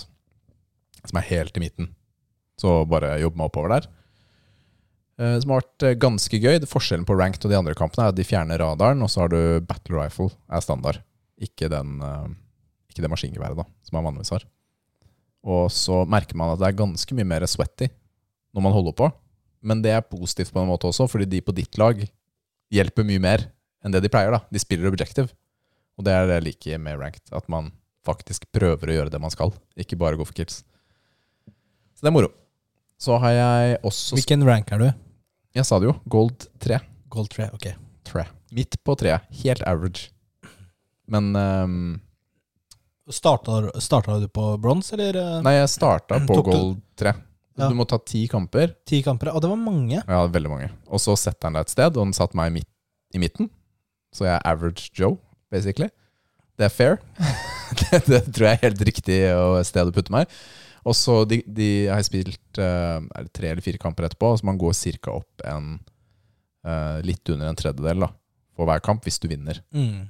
B: Som er helt i midten. Så bare jobbe meg oppover der. Eh, som har vært eh, ganske gøy. Det forskjellen på ranked og de andre kampene er at de fjerner radaren, og så har du battle rifle er standard. Ikke, den, eh, ikke det maskingeværet da, som man vanligvis har. Og så merker man at det er ganske mye mer sweaty når man holder på. Men det er positivt på en måte også, fordi de på ditt lag hjelper mye mer enn det de pleier. da. De spiller objective, og det er det jeg liker med ranked. At man faktisk prøver å gjøre det man skal, ikke bare gå for kills. Så det er moro. Så har jeg også
A: Hvilken rank er du?
B: Jeg sa det jo, gold 3.
A: Gold 3, ok.
B: Tre. Midt på treet. Helt average. Men ehm,
A: Starta, starta du på bronse, eller? eh,
B: Nei, jeg starta på
A: Tok du-
B: gold 3.
A: Ja.
B: Du må ta ti kamper.
A: Ti kamper? Å, det var mange.
B: Ja, veldig mange. Og så setter han deg et sted, og den satt meg i, midt, i midten. Så jeg er average Joe, basically. Det er fair. *laughs* det, det tror jeg er helt riktig og et sted å putte meg. Og så de, de jeg har spilt eh, er det tre eller fire kamper etterpå, så man går cirka opp en eh, litt under en tredjedel da, på hver kamp, hvis du vinner.
A: Mm.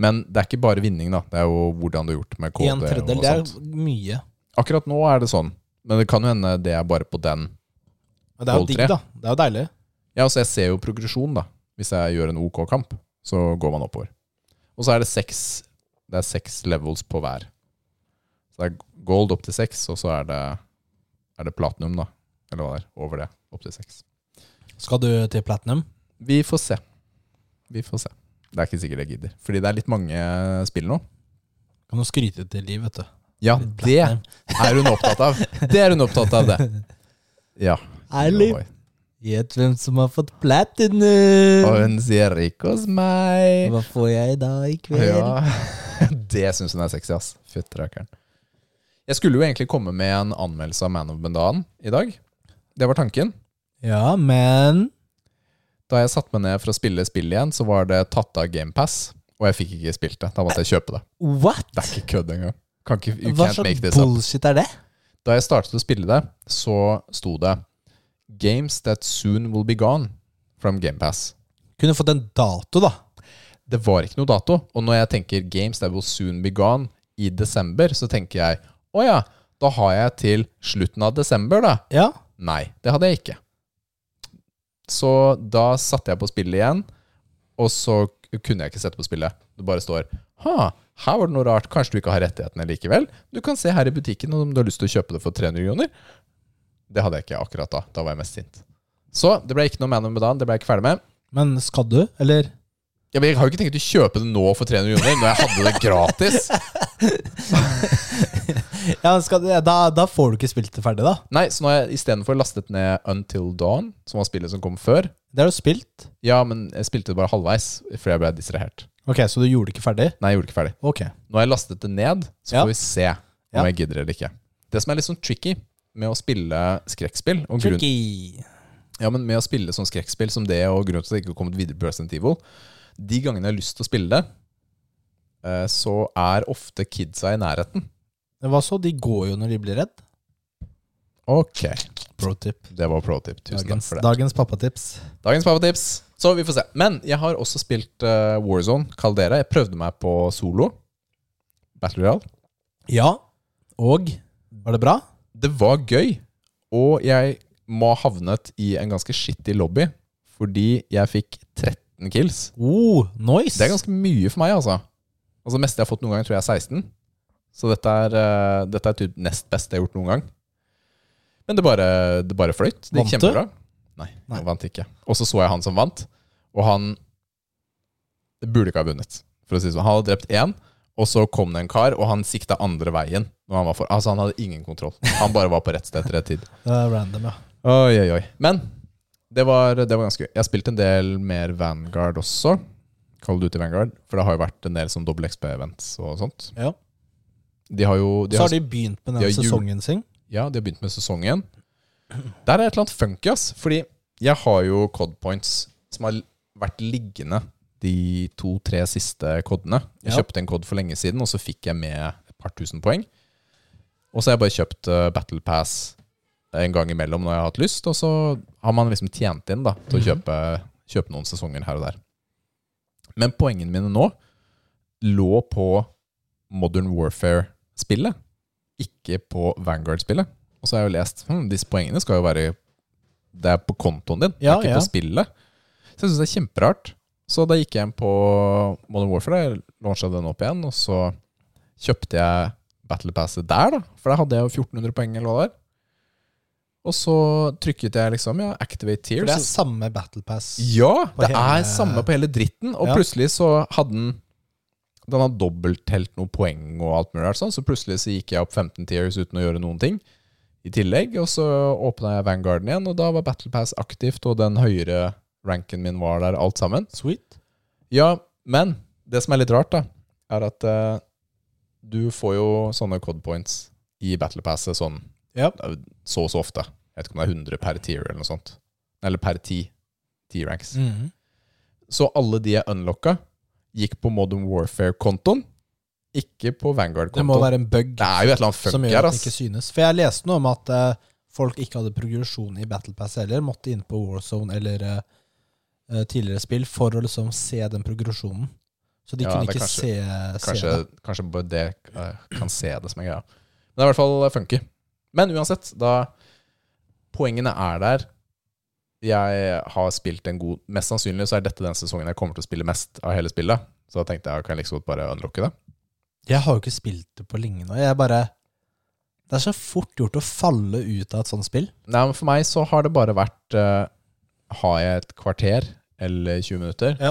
B: Men det er ikke bare vinning, da. Det er jo hvordan du har gjort med KD.
A: en tredjedel,
B: og
A: det er
B: sånt.
A: mye.
B: Akkurat nå er det sånn. Men det kan jo hende det er bare på den.
A: Men det er jo
B: Gold
A: digg,
B: tre.
A: da. Det er jo deilig.
B: Ja, altså jeg ser jo progresjon, da. Hvis jeg gjør en OK kamp, så går man oppover. Og så er det seks Det er seks levels på hver. Så det er gold opp til seks, og så er det Er det platinum, da. Eller hva det er. Over det. Opp til seks.
A: Skal du til platinum?
B: Vi får se. Vi får se. Det er ikke sikkert jeg gidder. Fordi det er litt mange spill nå.
A: Kan du skryte til liv, vet du.
B: Ja, det
A: Platinum.
B: er hun opptatt av. Det er hun opptatt av, det. Ja.
A: Erlig.
B: Oi.
A: Gjett hvem som har fått platinum!
B: Og hun sier 'rik hos meg'.
A: Hva får jeg da i kveld?
B: Ja. *laughs* Det syns hun er sexy, ass. Fytterakker'n. Jeg skulle jo egentlig komme med en anmeldelse av Man of Bendan i dag. Det var tanken.
A: Ja, men
B: Da jeg satte meg ned for å spille spill igjen, så var det tatt av GamePass, og jeg fikk ikke spilt det. Da måtte jeg kjøpe det.
A: What?!
B: Det er ikke kødd engang. Kan ikke, you
A: Hva
B: can't
A: slags
B: make this up.
A: bullshit er det?
B: Da jeg startet å spille det, så sto det 'Games that soon will be gone' from GamePass.
A: Kunne fått en dato, da.
B: det var ikke noe dato. Og når jeg tenker games that will soon be gone i desember, så tenker jeg å ja, da har jeg til slutten av desember, da.
A: Ja.
B: Nei, det hadde jeg ikke. Så da satte jeg på spillet igjen, og så kunne jeg ikke sette på spillet. Det bare står ha, her var det noe rart, kanskje du ikke har rettighetene likevel. Du kan se her i butikken om du har lyst til å kjøpe det for 300 kroner. Det hadde jeg ikke akkurat da. Da var jeg mest sint. Så det ble ikke noe Man of Medan, det ble jeg ikke ferdig med.
A: Men skal du, eller?
B: Ja, men jeg har jo ikke tenkt å kjøpe det nå for 300 kroner, når jeg hadde det gratis.
A: Ja, men skal, ja, da, da får du ikke spilt det ferdig, da.
B: *laughs* Nei, så nå har jeg istedenfor lastet ned Until Dawn, som var spillet som kom før.
A: Det har du spilt.
B: Ja, men jeg spilte det bare halvveis, fordi jeg ble distrahert.
A: Ok, Så du gjorde det ikke ferdig?
B: Nei, jeg gjorde det ikke ferdig.
A: Ok.
B: Nå har jeg lastet det ned, så
A: Ja.
B: får vi se om
A: Ja.
B: jeg gidder eller ikke. Det som er litt sånn tricky med å spille skrekkspill og grunn,
A: Tricky.
B: Ja, men med å spille sånn skrekkspill som det, og grunnen til at jeg ikke har kommet videre på Resident Evil De gangene jeg har lyst til å spille det, eh, så er ofte kidsa i nærheten.
A: Hva så? De går jo når de blir redd.
B: Ok,
A: Pro tip.
B: det var pro tip. Tusen takk
A: Dagens,
B: for det.
A: dagens pappatips.
B: Dagens pappatips. Så vi får se. Men jeg har også spilt eh, Warzone, Caldera. Jeg prøvde meg på solo. Battle Royale.
A: Ja. Og var det bra?
B: Det var gøy, og jeg må ha havnet i en ganske skittig lobby fordi jeg fikk 13 kills.
A: Oh, nice.
B: Det er ganske mye for meg, altså. Altså Det meste jeg har fått noen gang, tror jeg er 16. Så dette er, eh, dette er typ nest beste jeg har gjort noen gang. Men det bare, det bare fløyt. Det
A: Vant
B: gikk
A: du?
B: kjempebra. Nei,
A: Nei.
B: han vant ikke. Og så så jeg han som vant, og han burde ikke ha vunnet. For å si det sånn. Han hadde drept én, og så kom det en kar, og han sikta andre veien. Når han var for, altså Han hadde ingen kontroll. Han bare var på rett sted til rett tid.
A: Det er random, ja.
B: Oi, oi, oi. Men det var, det var ganske gøy. Jeg har spilt en del mer Vanguard også. Kall det ut i Vanguard, for det har jo vært en del sånn dobbel XP-events og sånt.
A: Ja.
B: De har jo de
A: Så
B: har,
A: har de begynt med
B: de
A: den
B: har jul-
A: sesongen sin.
B: Ja, de har begynt med sesongen. Der er et eller annet funky, ass. Fordi jeg har jo cod points som har vært liggende de to-tre siste kodene. Jeg
A: Ja.
B: kjøpte en kod for lenge siden, og så fikk jeg med et par tusen poeng. Og så har jeg bare kjøpt eh, Battle Pass en gang imellom når jeg har hatt lyst, og så har man liksom tjent inn da, til å
A: Mhm.
B: kjøpe, kjøpe noen sesonger her og der. Men poengene mine nå lå på Modern Warfare-spillet, ikke på Vanguard-spillet. Og så har jeg jo lest hm, disse poengene skal jo være Det er på kontoen din,
A: Ja,
B: det er ikke
A: ja.
B: på spillet. Så jeg syns det er kjemperart. Så da gikk jeg inn på Modern Warfare, jeg launchet den opp igjen, og så kjøpte jeg Battle Passet der, da. For der hadde jeg jo 1400 poeng eller hva det var. Og så trykket jeg liksom, ja, Activate
A: For
B: Tears.
A: det er samme Battle Pass.
B: Ja,
A: på
B: det
A: hele-
B: er samme på hele dritten. Og
A: Ja.
B: plutselig så hadde den Den hadde dobbelttelt noen poeng og alt mulig rart sånn, så plutselig så gikk jeg opp 15 tiers uten å gjøre noen ting i tillegg. Og så åpna jeg Vanguarden igjen, og da var Battle Pass aktivt, og den høyere ranken min var der, alt sammen.
A: Sweet.
B: Ja, men det som er litt rart, da, er at eh, du får jo sånne code points i Battle Passet sånn
A: Ja.
B: eh, så og så ofte. Jeg vet ikke om det er 100 per tier eller noe sånt. Eller per ti. T-ranks.
A: Mhm.
B: Så alle de jeg unlocka, gikk på Modern Warfare-kontoen, ikke
A: Det
B: på
A: må
B: Vanguard-kontoen. Det,
A: være en bug
B: er jo et eller annet
A: som
B: funky
A: gjør
B: her,
A: at den ikke
B: ass.
A: synes. For jeg leste noe om at eh, folk ikke hadde progresjon i Battle Pass heller. Måtte inn på Warzone eller eh, eh, tidligere spill for å liksom se den progresjonen. Så de
B: Ja,
A: kunne
B: det er
A: ikke
B: kanskje-
A: se,
B: Kanskje,
A: se det.
B: kanskje bare det eh, kan se det som er greia. Men det er i hvert fall eh, funky. Men uansett, da Poengene er der. Jeg har spilt en god Mest sannsynlig så er dette den sesongen jeg kommer til å spille mest av hele spillet. Så da tenkte jeg kan jeg like så godt bare unlocke det.
A: Jeg har jo ikke spilt det på lenge nå. Jeg bare Det er så fort gjort å falle ut av et sånt spill.
B: Nei, men For meg så har det bare vært eh, Har jeg et kvarter eller 20 minutter,
A: Ja.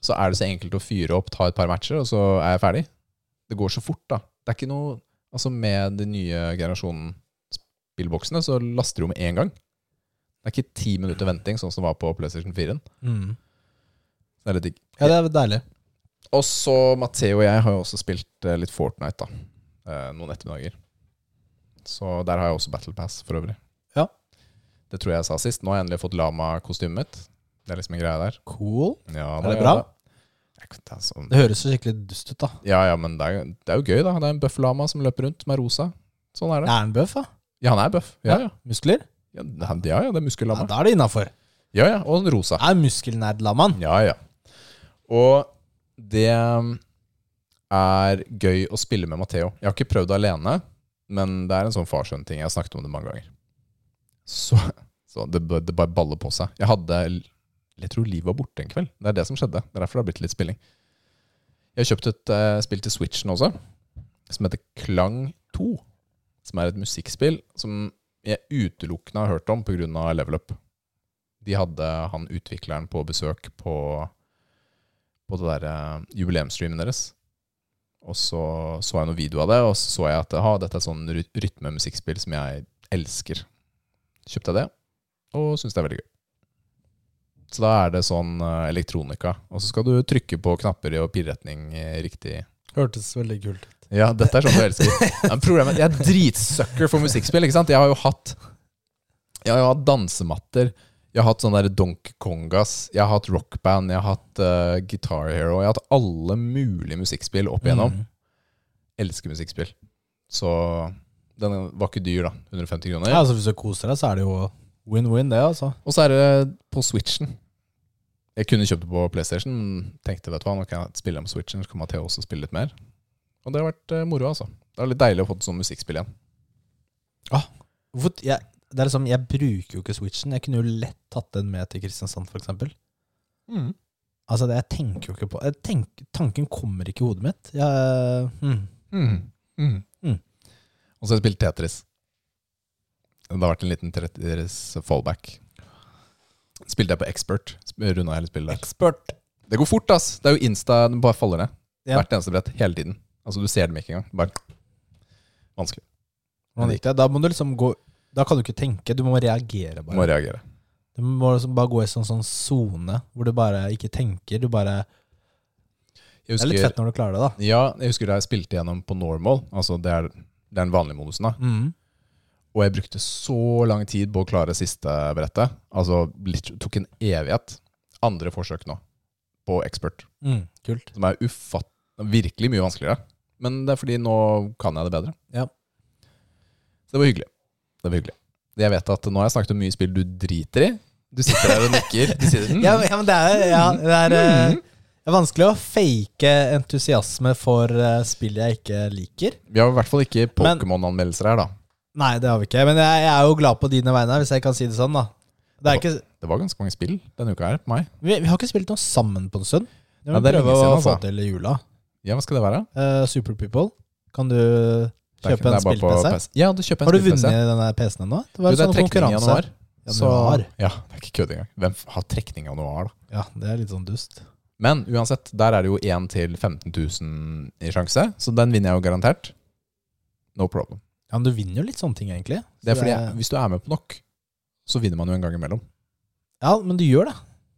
B: så er det så enkelt å fyre opp, ta et par matcher, og så er jeg ferdig. Det går så fort, da. Det er ikke noe Altså, med den nye generasjonen spillboksene, så laster du med én gang. Det er ikke ti minutter venting, sånn som det var på PlayStation 4.
A: Mm.
B: Det er litt digg.
A: Ja, det er deilig.
B: Og så Matheo og jeg har jo også spilt eh, litt Fortnite, da. Eh, Noen ettermiddager. Så der har jeg også Battle Pass, for øvrig.
A: Ja.
B: Det tror jeg jeg sa sist. Nå har jeg endelig fått Lama-kostymet mitt. Det er liksom en greie der.
A: Cool.
B: Ja,
A: Er det
B: ja,
A: bra?
B: da. Jeg vet ikke, altså.
A: Det høres jo skikkelig dust ut, da.
B: Ja, ja, men det er, det er jo gøy, da. Det er en bøff-lama som løper rundt, som er rosa. Sånn
A: Er
B: er det.
A: den bøff, da?
B: Ja, han er bøff. Ja, ja.
A: Muskler?
B: Ja, han- ja, ja, det er
A: Ja,
B: muskellama.
A: da er det innafor.
B: Ja, ja, og en rosa.
A: Er muskelnerdlammaen?
B: Ja, ja. Og det er gøy å spille med Matheo. Jeg har ikke prøvd alene, men det er en sånn farsønn-ting. Jeg har snakket om det mange ganger. Så, så det, b- det bare baller på seg. Jeg hadde Jeg tror livet var borte en kveld. Det er det som skjedde. Det er derfor det har blitt litt spilling. Jeg har kjøpt et eh, spill til Switchen også, som heter Klang 2. Som er et musikkspill som jeg utelukkende har hørt om pga. Level Up. De hadde han utvikleren på besøk på, på det der eh, jubileumsstreamen deres. Og så så jeg noen video av det, og så så jeg at ha, dette er sånn ry- rytmemusikkspill som jeg elsker. Kjøpte jeg det, og syns det er veldig gøy. Så da er det sånn eh, elektronika, og så skal du trykke på knapper i og pirretning i riktig
A: Hørtes veldig kult ut.
B: ja, dette er sånn du elsker.
A: *laughs*
B: Ja, men problemet, jeg er dritsucker for musikkspill. ikke sant? Jeg har jo hatt Jeg har jo hatt dansematter. Jeg har hatt sånne der Donk Kongas. Jeg har hatt rockband. Jeg har hatt eh, Guitar Hero. Jeg har hatt alle mulige musikkspill opp igjennom.
A: Mm.
B: Elsker musikkspill. Så den var ikke dyr, da. 150 kroner.
A: Ja, altså Hvis du koser deg, så er det jo win-win, det, altså.
B: Og så er det på Switchen. Jeg kunne kjøpt det på PlayStation, men tenkte vet du hva, nå kan jeg spille det på Switchen, så kan Matheo også spille litt mer. Og det har vært eh, moro, altså. Det er litt deilig å få et sånt musikkspill igjen.
A: Hvorfor, jeg, det er liksom, jeg bruker jo ikke switchen. Jeg kunne jo lett tatt den med til Kristiansand, f.eks. Altså, det, jeg tenker jo ikke på jeg tenk, Tanken kommer ikke i hodet mitt. Jeg, mm.
B: Mm. Mm.
A: Mm.
B: Og så har jeg spilt Tetris. Det har vært en liten tre- deres fallback. Spilte jeg på expert. Runda hele spillet der.
A: Expert.
B: Det går fort, ass. Det er jo insta, den bare faller ned.
A: Ja.
B: Hvert eneste brett, hele tiden. Altså, du ser dem ikke engang. Bare vanskelig.
A: Hvordan gikk det? Da må du liksom gå Da kan du ikke tenke, du må reagere
B: Må
A: bare.
B: reagere.
A: Du må liksom bare gå i sånn sånn sone hvor du bare ikke tenker. Du bare
B: Jeg
A: Det er litt
B: husker,
A: fett når du klarer det, da.
B: ja, jeg husker da jeg spilte gjennom på normal. Altså, det er det er den vanlige modusen, da.
A: Mm.
B: Og jeg brukte så lang tid på å klare siste brettet. Altså, litt, tok en evighet. Andre forsøk nå, på expert.
A: Mm. Kult.
B: Som er ufatt, virkelig mye vanskeligere. Men det er fordi nå kan jeg det bedre.
A: Ja.
B: Så det var hyggelig. Det var hyggelig. Jeg vet at Nå har jeg snakket om mye spill du driter i. Du sitter der og nikker. Du sier, mm,
A: Ja, men- ja, men det er, ja, det, er eh, det er vanskelig å fake entusiasme for eh, spill jeg ikke liker.
B: Vi har i hvert fall ikke
A: Men-
B: Pokémon-anmeldelser her, da.
A: Nei, det har vi ikke. Men jeg, jeg er jo glad på dine vegne, hvis jeg kan si det sånn, da. Det er ikke,
B: Det var ganske mange spill denne uka her på meg.
A: vi, vi har ikke spilt noe sammen på en stund. Det må
B: Ja, det
A: vi
B: er
A: prøve
B: lenge
A: å
B: siden,
A: få
B: altså.
A: til i jula.
B: Ja, hva skal det være?
A: Eh, Super People, kan du
B: Det er ikke-
A: kjøpe
B: det
A: en
B: er bare på
A: spill-PC?
B: PC. Ja, du kjøper en
A: Har du
B: spill-PC.
A: vunnet denne PC-en ennå? Det var
B: Du, det er
A: sånn
B: trekning i
A: konkurranse.
B: januar. Så-
A: Januar.
B: ja, det er ikke kødd engang. Hvem f- har trekning i januar, da?
A: Ja, det er litt sånn dust.
B: Men uansett, der er det jo 1 til 15 000 i sjanse, så den vinner jeg jo garantert. No problem.
A: Ja, Men du vinner jo litt sånne ting, egentlig. Så
B: Det er fordi
A: det er-
B: hvis du er med på nok, så vinner man jo en gang imellom.
A: Ja, men du gjør det.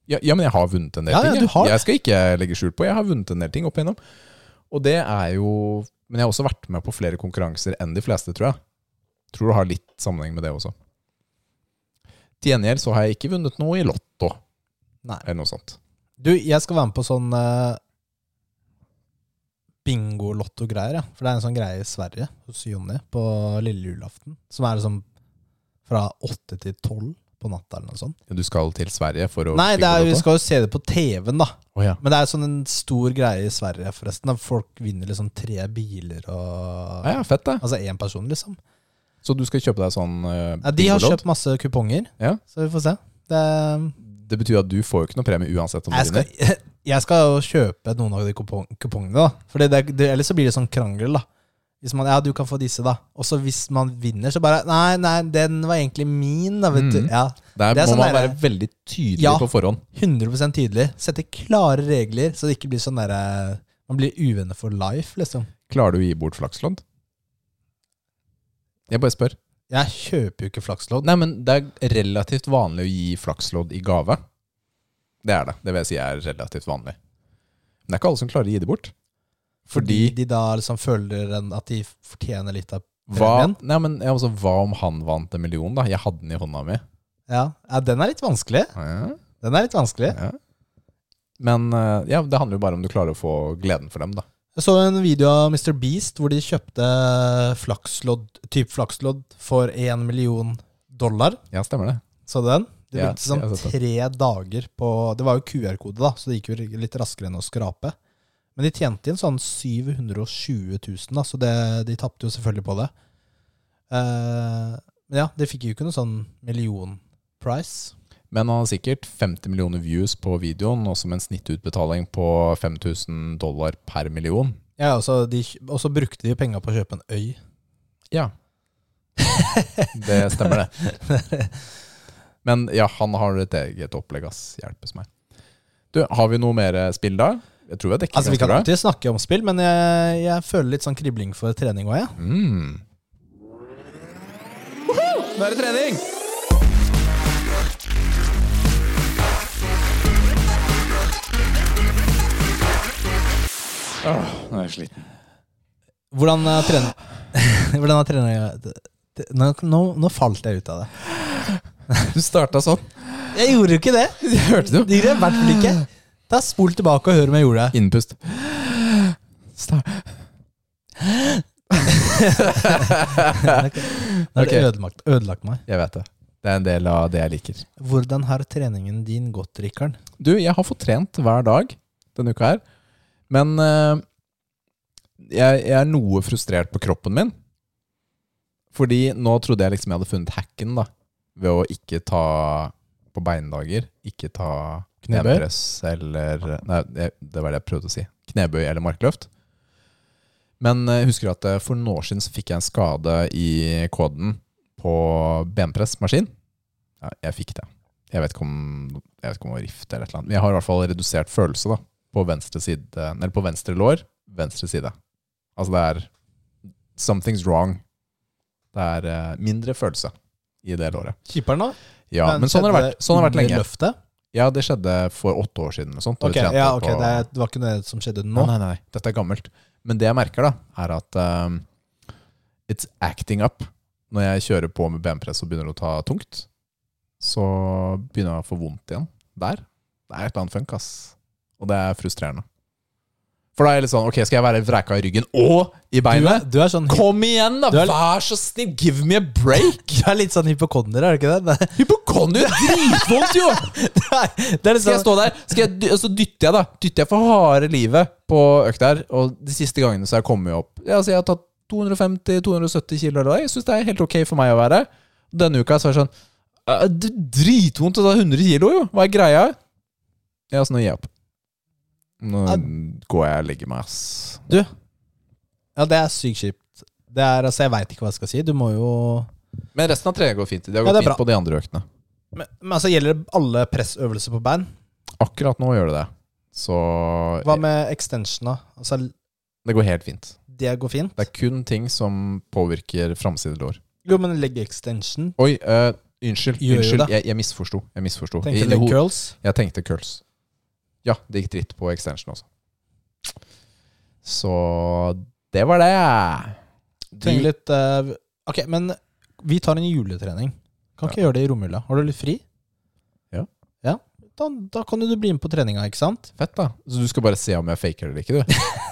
B: Ja, ja men jeg har vunnet en del
A: Ja, ja,
B: ting. jeg.
A: du har det.
B: jeg skal ikke legge skjul på, jeg har vunnet en del ting opp igjennom. Og det er jo Men jeg har også vært med på flere konkurranser enn de fleste, tror jeg. Tror det har litt sammenheng med det også. Til gjengjeld så har jeg ikke vunnet noe i Lotto,
A: Nei.
B: eller noe sånt.
A: Du, jeg skal være med på sånn uh, bingo-lotto-greier, ja. For det er en sånn greie i Sverige, hos Jonny, på lille julaften. Som er liksom fra åtte til tolv på natta, eller noe sånt.
B: Du skal til Sverige for å
A: Nei, det
B: spille
A: er, vi
B: Lotto?
A: skal jo se det på TV-en, da.
B: Å ja.
A: Men det er sånn en stor greie i Sverige, forresten. At folk vinner liksom tre biler og
B: Ja, ja, fett det.
A: Altså én person, liksom.
B: Så du skal kjøpe deg sånn eh,
A: Ja, de har
B: bingolodd?
A: kjøpt masse kuponger,
B: Ja.
A: så vi får se. Det,
B: Det betyr at du får jo ikke noe premie uansett om du
A: jeg,
B: vinner.
A: skal, *laughs* jeg skal jo kjøpe noen av de kupong, kupongene, da. Fordi det, det, ellers så blir det sånn krangel, da. Hvis man, ja, du kan få disse, da. Og så hvis man vinner, så bare Nei, nei, den var egentlig min, da, vet
B: Mhm.
A: du. Ja,
B: Der
A: det er
B: må
A: sånn
B: man
A: der-
B: være veldig tydelig
A: Ja.
B: på forhånd.
A: 100 tydelig. Sette klare regler, så det ikke blir sånn derre Man blir uvenner for life, liksom.
B: Klarer du å gi bort flakslodd? Jeg bare spør.
A: Jeg kjøper jo ikke flakslodd.
B: Nei, men det er relativt vanlig å gi flakslodd i gave. Det er det. Det vil jeg si er relativt vanlig. Men det er ikke alle som klarer å gi det bort.
A: Fordi
B: Fordi
A: de da liksom føler en- at de fortjener litt av
B: hva,
A: Premien?
B: nei, men, ja, altså, hva om han vant en million, da? Jeg hadde den i hånda mi.
A: Ja, ja den er litt vanskelig.
B: Ja,
A: Den er litt vanskelig.
B: ja. Men eh, ja, det handler jo bare om du klarer å få gleden for dem, da.
A: Jeg så en video av Mr. Beast hvor de kjøpte flakslodd, typ flakslodd for én million dollar.
B: Ja, stemmer det.
A: Så du den? De
B: Ja,
A: brukte sånn
B: jeg har sett
A: tre dager på Det var jo QR-kode, da, så det gikk jo litt raskere enn å skrape. Men de tjente inn sånn 720 000, da, så det, de tapte jo selvfølgelig på det. Eh, men ja, de fikk jo ikke noe sånn million-price.
B: Men han har sikkert 50 millioner views på videoen, og som en snittutbetaling på 5000 dollar per million.
A: Ja, og så de- og så brukte de penga på å kjøpe en øy.
B: Ja. *laughs* Det stemmer, det. Men ja, han har et eget opplegg, ass. Hjelpes meg. Du, har vi noe mer eh, spill da? Jeg tror vi har dekket
A: Altså, vi kan
B: ganske bra.
A: alltid snakke om spill, men jeg, jeg føler litt sånn kribling for trening òg, jeg.
B: Mm. Nå er det trening! Åh, Ah, nå er jeg sliten.
A: Hvordan eh, trener *laughs* Hvordan er trening nå, nå, nå falt jeg ut av det.
B: Du starta sånn.
A: Jeg gjorde jo ikke *laughs* det!
B: Hørte du?
A: Det gjorde jeg i hvert fall ikke. Da spol tilbake og hør om jeg gjorde det.
B: Innpust. Start.
A: Det har
B: Ok.
A: ødelagt, ødelagt meg.
B: Jeg vet det. Det er en del av det jeg liker.
A: Hvordan har treningen din gått, Rikard?
B: Du, jeg har fått trent hver dag denne uka her. Men eh, jeg, jeg er noe frustrert på kroppen min. Fordi nå trodde jeg liksom jeg hadde funnet hacken da. Ved å ikke ta på beindager. Ikke ta
A: Knebøy?
B: knepress eller Nei, det, det var det jeg prøvde å si. Knebøy eller markløft. Men eh, jeg husker at eh, for noen år siden så fikk jeg en skade i koden på benpressmaskin. Ja, jeg fikk det. Jeg vet ikke om, jeg vet ikke om det var rift eller et eller annet. Men jeg har i hvert fall redusert følelse da, på venstre side, eller på venstre lår, venstre side. Altså det er something's wrong. Det er eh, mindre følelse i det låret.
A: Kjiperen, da?
B: Ja, men, sånn har det vært, sånn har det vært lenge.
A: Løftet?
B: Ja, det skjedde for åtte år siden eller sånt. da vi
A: Ok,
B: trente
A: ja, ok,
B: på-
A: det, er, det var ikke noe som skjedde nå?
B: Nei, nei, nei. Dette er gammelt. Men det jeg merker, da, er at ehm, it's acting up. Når jeg kjører på med benpress og begynner å ta tungt, så begynner jeg å få vondt igjen der. Det er et eller annet funk, ass. Og det er frustrerende. For da er jeg litt sånn Ok, skal jeg være vreka i ryggen og
A: Du
B: i
A: er,
B: beinet?
A: du er sånn
B: Kom igjen, da!
A: Du er-
B: Vær så snill! Give me a break!
A: *laughs* Du er litt sånn hypokonder, er du ikke det?
B: Hypokonder! Dritvondt,
A: *laughs*
B: jo!
A: Det er, det er litt
B: Skal jeg
A: sånn
B: stå der, skal jeg, dy- og så dytter jeg da Dytter jeg for harde livet på økt her Og de siste gangene så har jeg kommet opp ja, altså Jeg har tatt 250-270 kilo eller noe. Jeg synes det er helt ok for meg å være Denne uka så er det sånn «Eh, Det er dritvondt å ta 100 kilo jo Hva er greia? Ja, så nå gir jeg opp Nå går jeg og legger meg ass
A: Ja, det er sykt kjipt. Det er, altså, jeg veit ikke hva jeg skal si. Du må jo
B: Men resten av treet går fint Det har
A: Ja,
B: gått
A: det er
B: fint på de andre øktene
A: Men, men altså, gjelder det alle pressøvelser på band?
B: Akkurat nå gjør det det Så
A: Hva med extensiona? Altså,
B: det går helt fint
A: det går fint?
B: Det er kun ting som påvirker framsidelår
A: Jo, men legg extension.
B: Oi, eh, unnskyld.
A: Gjør jo
B: unnskyld.
A: det.
B: Jeg, jeg misforsto. Jeg, misforsto.
A: Tenkte
B: Inni
A: leg
B: ho-
A: curls.
B: jeg tenkte curls. Ja, det gikk dritt på extension også. Så det var det.
A: Trenger litt eh, Ok, men vi tar en juletrening. Kan ikke gjøre det i romjula. Har du litt fri?
B: Ja.
A: Ja, Da, da kan du bli med på treninga, ikke sant?
B: Fett, da. Så du skal bare se om jeg faker
A: *laughs*
B: det eller ikke, du?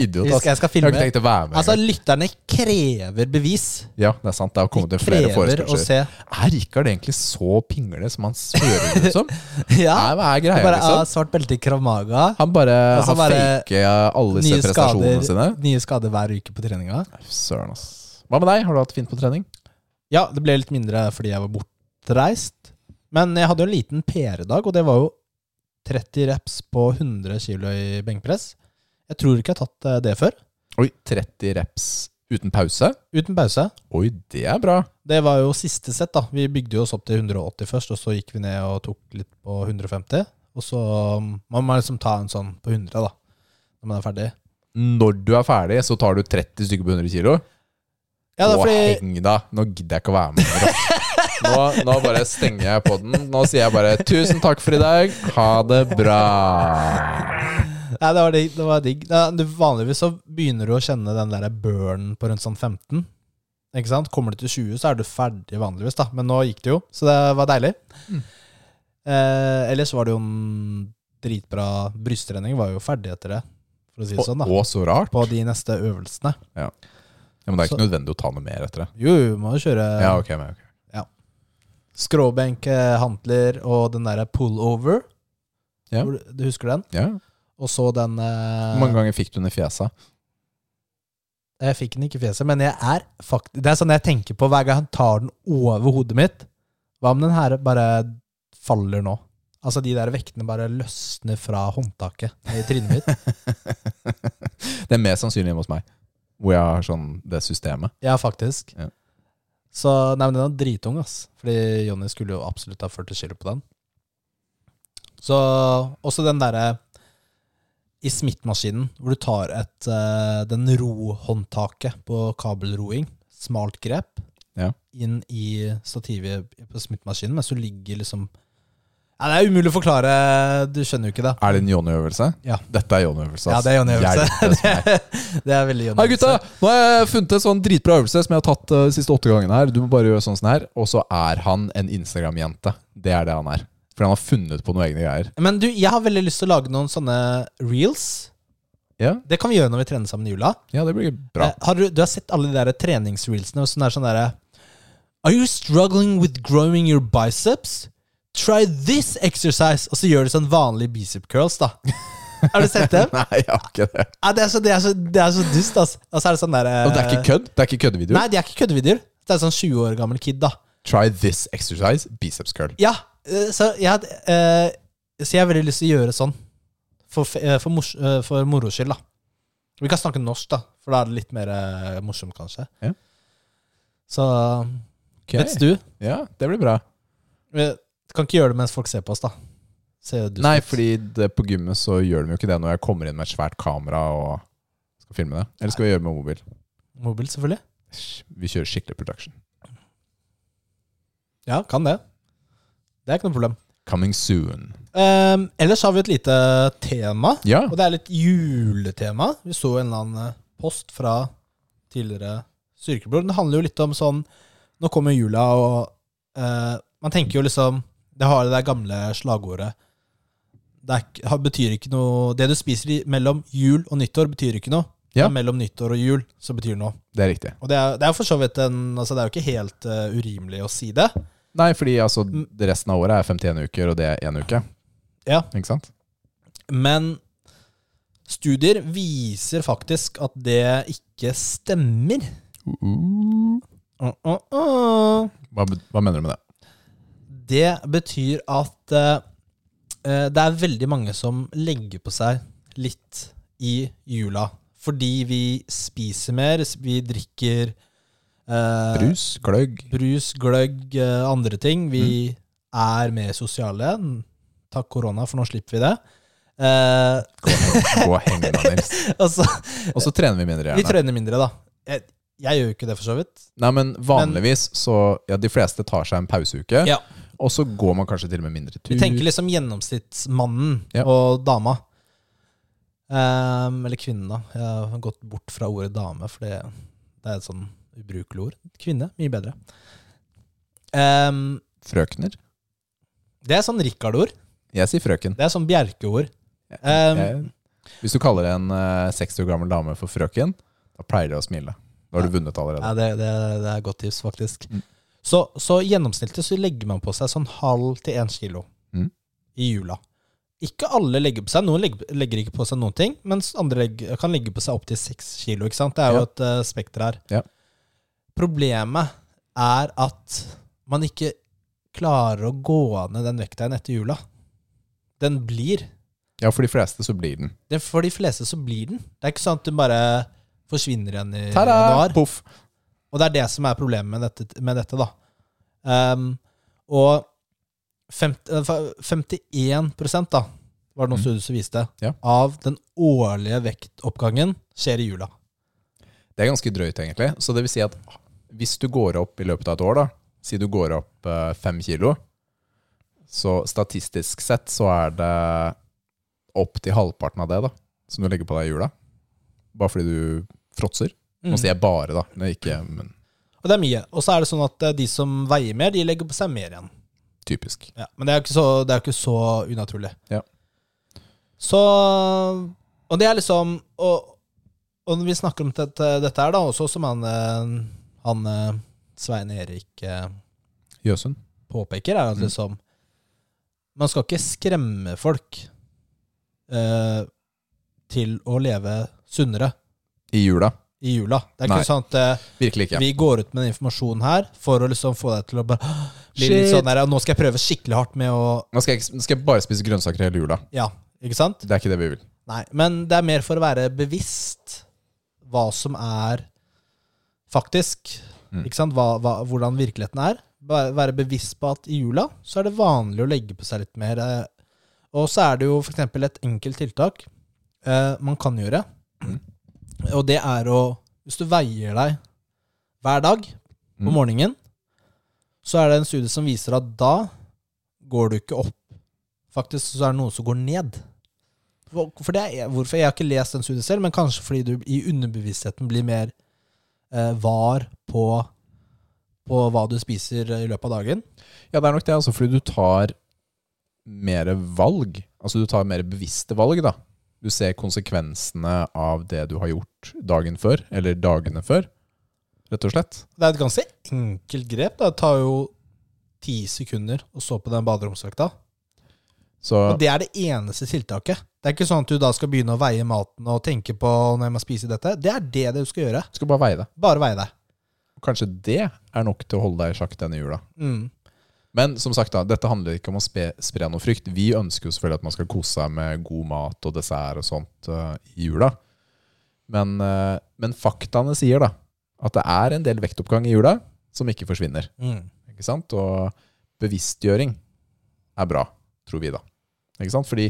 B: Idiot,
A: Jeg
B: ass.
A: skal, jeg skal
B: Jeg har
A: filme.
B: ikke tenkt å være med.
A: Altså,
B: engang.
A: lytterne krever bevis.
B: ja, det er sant. Det har kommet
A: De
B: inn flere
A: krever å
B: forespørsler.
A: se. *laughs*
B: Er Rikard egentlig så pingle som han hører ut som?
A: *laughs* Ja.
B: Nei, hva er
A: Det
B: greia,
A: bare ah,
B: liksom?
A: svart belte i Krav Maga.
B: Han bare
A: Og så
B: har
A: bare
B: faket alle disse
A: Nye
B: prestasjonene sine.
A: skader, nye skader hver uke på treninga.
B: Søren, ass. Hva med deg? Har du hatt fint på trening?
A: Ja, det ble litt mindre fordi jeg var bortreist. Men jeg hadde jo en liten PR-dag, og det var jo 30 reps på 100 kilo i benkpress. Jeg tror ikke jeg har tatt eh, det før.
B: Oi, 30 reps uten pause.
A: Uten pause.
B: Oi, det er bra.
A: Det var jo siste sett, da. Vi bygde jo oss opp til 180 først, og så gikk vi ned og tok litt på 150. Og så um, man må liksom ta en sånn på 100, da. Når man er ferdig.
B: Når du er ferdig, så tar du 30 stykker på 100 kilo.
A: Ja, det er
B: Å,
A: fordi
B: heng da. Nå gidder jeg ikke å være med.
A: *laughs*
B: mer, da. Nå, nå bare stenger jeg på den. Nå sier jeg bare tusen takk for i dag. Ha det bra.
A: Nei, det var digg. Det var digg. Nei, du, vanligvis så begynner du å kjenne den der burnen på rundt sånn 15. Ikke sant? Kommer du til 20, så er du ferdig vanligvis, da. Men nå gikk det jo, så det var deilig.
B: Mm.
A: Eh, ellers var det jo en dritbra brysttrening. Var jo ferdig etter det, for å si det sånn, da.
B: Å, så rart.
A: På de neste øvelsene.
B: Ja, men det er ikke nødvendig å ta noe mer etter det.
A: Jo, jo, må jo kjøre
B: Ja, ok, men, ok.
A: skråbenk, eh, hantler og den derre pullover.
B: Ja.
A: Hvor- Du husker den?
B: Ja.
A: Og så den
B: Hvor
A: eh,
B: mange ganger fikk du den i fjesa?
A: Jeg fikk den ikke i fjeset, men jeg er faktisk Det er sånn jeg tenker på hver gang han tar den over hodet mitt. Hva om den her bare faller nå? Altså de der vektene bare løsner fra håndtaket i trynet mitt.
B: Det er mer sannsynlig hjemme hos meg, hvor jeg har sånn det systemet.
A: Ja, faktisk.
B: Ja.
A: Så nei, men den er dritung, ass. Fordi Jonny skulle jo absolutt ha 40 kilo på den. Så også den derre i smittmaskinen, hvor du tar et eh, den rohåndtaket på kabelroing, smalt grep,
B: Ja.
A: inn i stativet på smittmaskinen, mens du ligger liksom ja, Det er umulig å forklare, du skjønner jo ikke det.
B: Er det en Johnny-øvelse?
A: Ja.
B: Dette er Johnny-øvelse.
A: Ja,
B: ass.
A: det er Jonny-øvelse.
B: Hjelpes meg.
A: *laughs* Det er veldig
B: Hei
A: Jonny.
B: gutta, nå har jeg funnet en sånn dritbra øvelse som jeg har tatt eh, de siste åtte gangene her. Du må bare gjøre sånn sånn her. Og så er han en Instagram-jente. Det er det han er. For han har funnet på noen egne greier.
A: Men du, jeg har veldig lyst til å lage noen sånne reels.
B: Ja,
A: Det kan vi gjøre når vi trener sammen i jula.
B: ja det blir bra.
A: Eh, har du, du har sett alle de der treningsreelsene som er sånn derre Are you struggling with growing your biceps? Try this exercise! Og så gjør du sånn vanlige bicep curls,
B: *laughs*
A: da. Har du sett dem?
B: *laughs* Nei, jeg har ikke det.
A: Ja, det, er så, det, er så, det er så dust, ass. Og så er det sånn derre
B: Og det er ikke kødd? Det er ikke køddevideo?
A: Nei, de er ikke køddevideoer. Det er sånn 20 år gammel kid, da.
B: Try this exercise, biceps curl.
A: Ja, eh, så jeg, had- eh, så jeg har veldig lyst til å gjøre sånn. For, fe- eh, for, mors, eh, for moro skyld, da. Vi kan snakke norsk, da, for da er det litt mer eh, morsomt, kanskje.
B: Ja.
A: Så
B: Ok.
A: mens du
B: Ja, det blir bra.
A: vi Kan ikke gjøre det mens folk ser på oss, da. Ser jo dust
B: Nei,
A: ut.
B: fordi det, på gymmet så gjør de jo ikke det når jeg kommer inn med et svært kamera og skal filme det. Eller skal vi gjøre det med mobil?
A: Mobil, selvfølgelig.
B: Æsj, Vi kjører skikkelig production.
A: Ja, kan det. Det er ikke noe problem.
B: Coming soon.
A: Ehm, ellers har vi et lite tema,
B: Ja,
A: *laughs* og det er litt juletema. Vi så en eller annen eh, post fra tidligere Styrkebror. Det handler jo litt om sånn Nå kommer jula, og eh, man tenker jo liksom Det har det der gamle slagordet det er, ikke- har- betyr ikke noe Det du spiser i, mellom jul og nyttår, betyr ikke noe.
B: Ja.
A: Men mellom nyttår og jul, så betyr det noe.
B: det er riktig.
A: Og det er, det er jo for så vidt en altså Det er jo ikke helt eh, urimelig å si det.
B: Nei, fordi altså,
A: Mm.
B: det resten av året er 51 uker, og det er én uke.
A: Ja.
B: Ikke sant?
A: Men studier viser faktisk at det ikke stemmer. Uh, uh, uh.
B: Hva, be- hva mener du med det?
A: Det betyr at eh, eh, det er veldig mange som legger på seg litt i jula. Fordi vi spiser mer, vi drikker eh,
B: Brus? Gløgg?
A: brus, gløgg, eh, andre ting. Vi er mer sosiale. Takk korona, for nå slipper vi det. Eh, *laughs*
B: Gå og heng deg, Nils.
A: altså,
B: Og så trener vi mindre,
A: vi
B: gjerne.
A: trener mindre, da. Jeg, jeg gjør jo ikke det, for så vidt.
B: Nei, men vanligvis så Ja, de fleste tar seg en pauseuke,
A: Ja.
B: og så går man kanskje til og med mindre tur.
A: Vi tenker liksom gjennomsnittsmannen
B: Ja.
A: og dama. Ehm, eller kvinnen, da. Jeg har gått bort fra ordet dame, for det, det er et sånn ubrukelig ord. Kvinne, mye bedre. Ehm,
B: Frøkner?
A: det er sånn Rikard-ord.
B: Jeg sier frøken.
A: Det er sånn Bjerke-ord. Ehm,
B: Jeg, hvis du kaller en eh, 60 år gammel dame for frøken, da pleier de å smile. Da har du vunnet allerede.
A: Ja, det, det, det er et godt tips, faktisk.
B: Mm.
A: Så, så gjennomsnittlig så legger man på seg sånn halv til én kilo
B: Mm.
A: i jula. Ikke alle legger på seg, noen legger, legger ikke på seg noen ting, mens andre legger, kan legge på seg opptil seks kilo. ikke sant? Det er jo
B: Ja.
A: et eh, spekter her.
B: Ja.
A: Problemet er at man ikke klarer å gå ned den vekta igjen etter jula. Den blir.
B: Ja, for de fleste så blir den.
A: Den, for de fleste så blir den. Det er ikke sånn at den bare forsvinner igjen i
B: Ta-da!
A: januar.
B: Poff!
A: Og det er det som er problemet med dette, med dette da. Ehm, og 50, eh, 51 da, var det noen
B: Mm.
A: studier som viste,
B: Ja.
A: av den årlige vektoppgangen skjer i jula.
B: Det er ganske drøyt, egentlig. Så det vil si at hvis du går opp i løpet av et år, da, si du går opp eh, fem kilo, så statistisk sett så er det opp til halvparten av det da, som du legger på deg i jula. Bare fordi du fråtser. Nå sier jeg bare, da. Det Mm. er ikke men
A: Og det er mye. Og så er det sånn at eh, de som veier mer, de legger på seg mer igjen.
B: typisk.
A: Ja, men det er jo ikke så, det er jo ikke så unaturlig.
B: Ja.
A: Så Og det er liksom Og, og når vi snakker om dette, dette her, da, også som han, eh, han eh, Svein Erik eh,
B: Jøsund.
A: påpeker, er at
B: Mm.
A: liksom Man skal ikke skremme folk eh, til å leve sunnere
B: I jula.
A: i jula. Det er
B: Nei.
A: ikke sånn at eh,
B: Virkelig ikke.
A: vi går ut med den informasjonen her for å liksom få deg til å bare *gasps* bli litt
B: Shit.
A: sånn der, «Ja, Nå skal jeg prøve skikkelig hardt med å
B: Nå skal jeg, ikke- nå skal jeg bare spise grønnsaker hele jula.
A: Ja, ikke sant?
B: Det er ikke det vi vil.
A: Nei. Men det er mer for å være bevisst hva som er faktisk.
B: Mm.
A: Ikke sant? Hva, hva, hvordan virkeligheten er. Være være bevisst på at i jula så er det vanlig å legge på seg litt mer. eh, Og så er det jo f.eks. et enkelt tiltak eh, man kan gjøre.
B: Mm.
A: Og det er å Hvis du veier deg hver dag på
B: Mm.
A: morgenen, så er det en studie som viser at da går du ikke opp. Faktisk så er det noen som går ned. Hvor- For det er, hvorfor? Jeg har ikke lest den studien selv, men kanskje fordi du i underbevisstheten blir mer eh, var på, på hva du spiser i løpet av dagen.
B: Ja, det er nok det, altså, fordi du tar mer valg. Altså, du tar mer bevisste valg, da. Du ser konsekvensene av det du har gjort dagen før, eller dagene før, rett og slett.
A: Det er et ganske enkelt grep. da. Det tar jo ti sekunder å stå på den baderomsvekta.
B: Så
A: Og det er det eneste tiltaket. Det er ikke sånn at du da skal begynne å veie maten og tenke på når jeg må spise dette. Det er det du skal gjøre.
B: du skal bare veie det.
A: Bare veie deg.
B: Kanskje det er nok til å holde deg i sjakk denne jula.
A: Mm.
B: Men som sagt, da, dette handler ikke om å spe, spre noe frykt. Vi ønsker jo selvfølgelig at man skal kose seg med god mat og dessert og sånt eh, i jula. Men, eh, men faktaene sier da at det er en del vektoppgang i jula, som ikke forsvinner.
A: Mm.
B: Ikke sant? Og bevisstgjøring er bra, tror vi da. Ikke sant? Fordi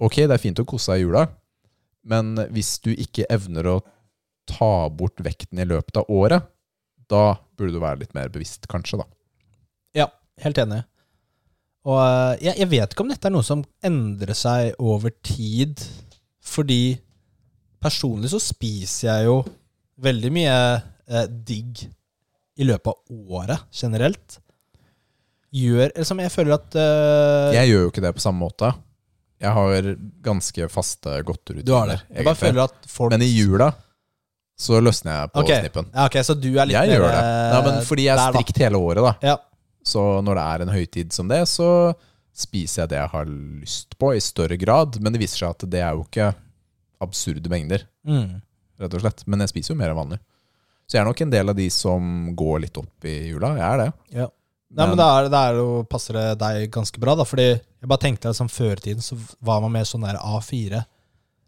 B: ok, det er fint å kose seg i jula, men hvis du ikke evner å ta bort vekten i løpet av året, da burde du være litt mer bevisst, kanskje. da.
A: Ja, helt enig. Og eh, jeg, jeg vet ikke om dette er noe som endrer seg over tid, fordi personlig så spiser jeg jo veldig mye eh, digg i løpet av året generelt. Gjør eller som jeg føler at eh,
B: Jeg gjør jo ikke det på samme måte. Jeg har ganske faste godterutiner.
A: Du har det. Jeg bare
B: egentlig.
A: føler at folk
B: Men i jula så løsner jeg på
A: Ok.
B: knippen.
A: Ja, ok, så du er litt
B: Jeg
A: mer,
B: gjør det.
A: eh,
B: Nei, men fordi jeg
A: der,
B: er
A: da.
B: strikt hele året, da.
A: Ja.
B: Så når det er en høytid som det, så spiser jeg det jeg har lyst på, i større grad. Men det viser seg at det er jo ikke absurde mengder,
A: Mm.
B: rett og slett. Men jeg spiser jo mer enn vanlig. Så jeg er nok en del av de som går litt opp i jula. Jeg er det.
A: Ja. Nei, men,
B: Men-
A: da er, da er det jo, passer det deg ganske bra, da. Fordi jeg bare tenkte at sånn før i tiden så var man mer sånn der A4.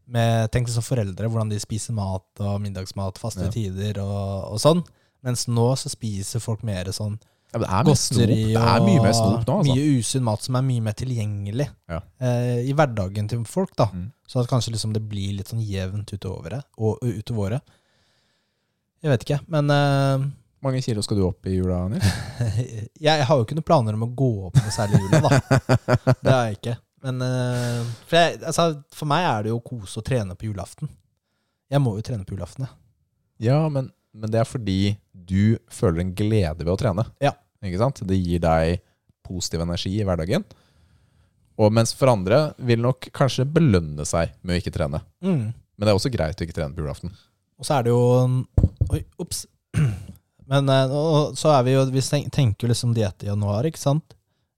A: Med, tenk sånn foreldre, hvordan de spiser mat og middagsmat, faste
B: Ja.
A: tider og, og sånn. Mens nå så spiser folk mer sånn
B: Ja, men det er, mye snop.
A: godteri
B: det er mye mer snop nå, altså.
A: mye usunn mat som er mye mer tilgjengelig
B: Ja.
A: eh, i hverdagen til folk. da.
B: Mm.
A: Så at kanskje liksom det blir litt sånn jevnt utover, det- og, utover året. Jeg vet ikke, men eh,
B: Mange kilo skal du opp i jula, Nils? *laughs*
A: jeg har jo ikke noen planer om å gå opp noe særlig i jula,
B: *laughs*
A: da. Det har jeg ikke. Men eh, for, jeg, altså, for meg er det jo kos å trene på julaften. Jeg må jo trene på julaften, jeg.
B: Ja, men, men det er fordi du føler en glede ved å trene.
A: Ja.
B: Ikke sant? Det gir deg positiv energi i hverdagen. Og mens for andre vil nok kanskje belønne seg med å ikke trene.
A: Mm.
B: Men det er også greit å ikke trene på julaften.
A: Og så er det jo Oi, ops. *clears throat* Men eh, nå- så er vi jo Vi ten- tenker jo liksom diett i januar, ikke sant?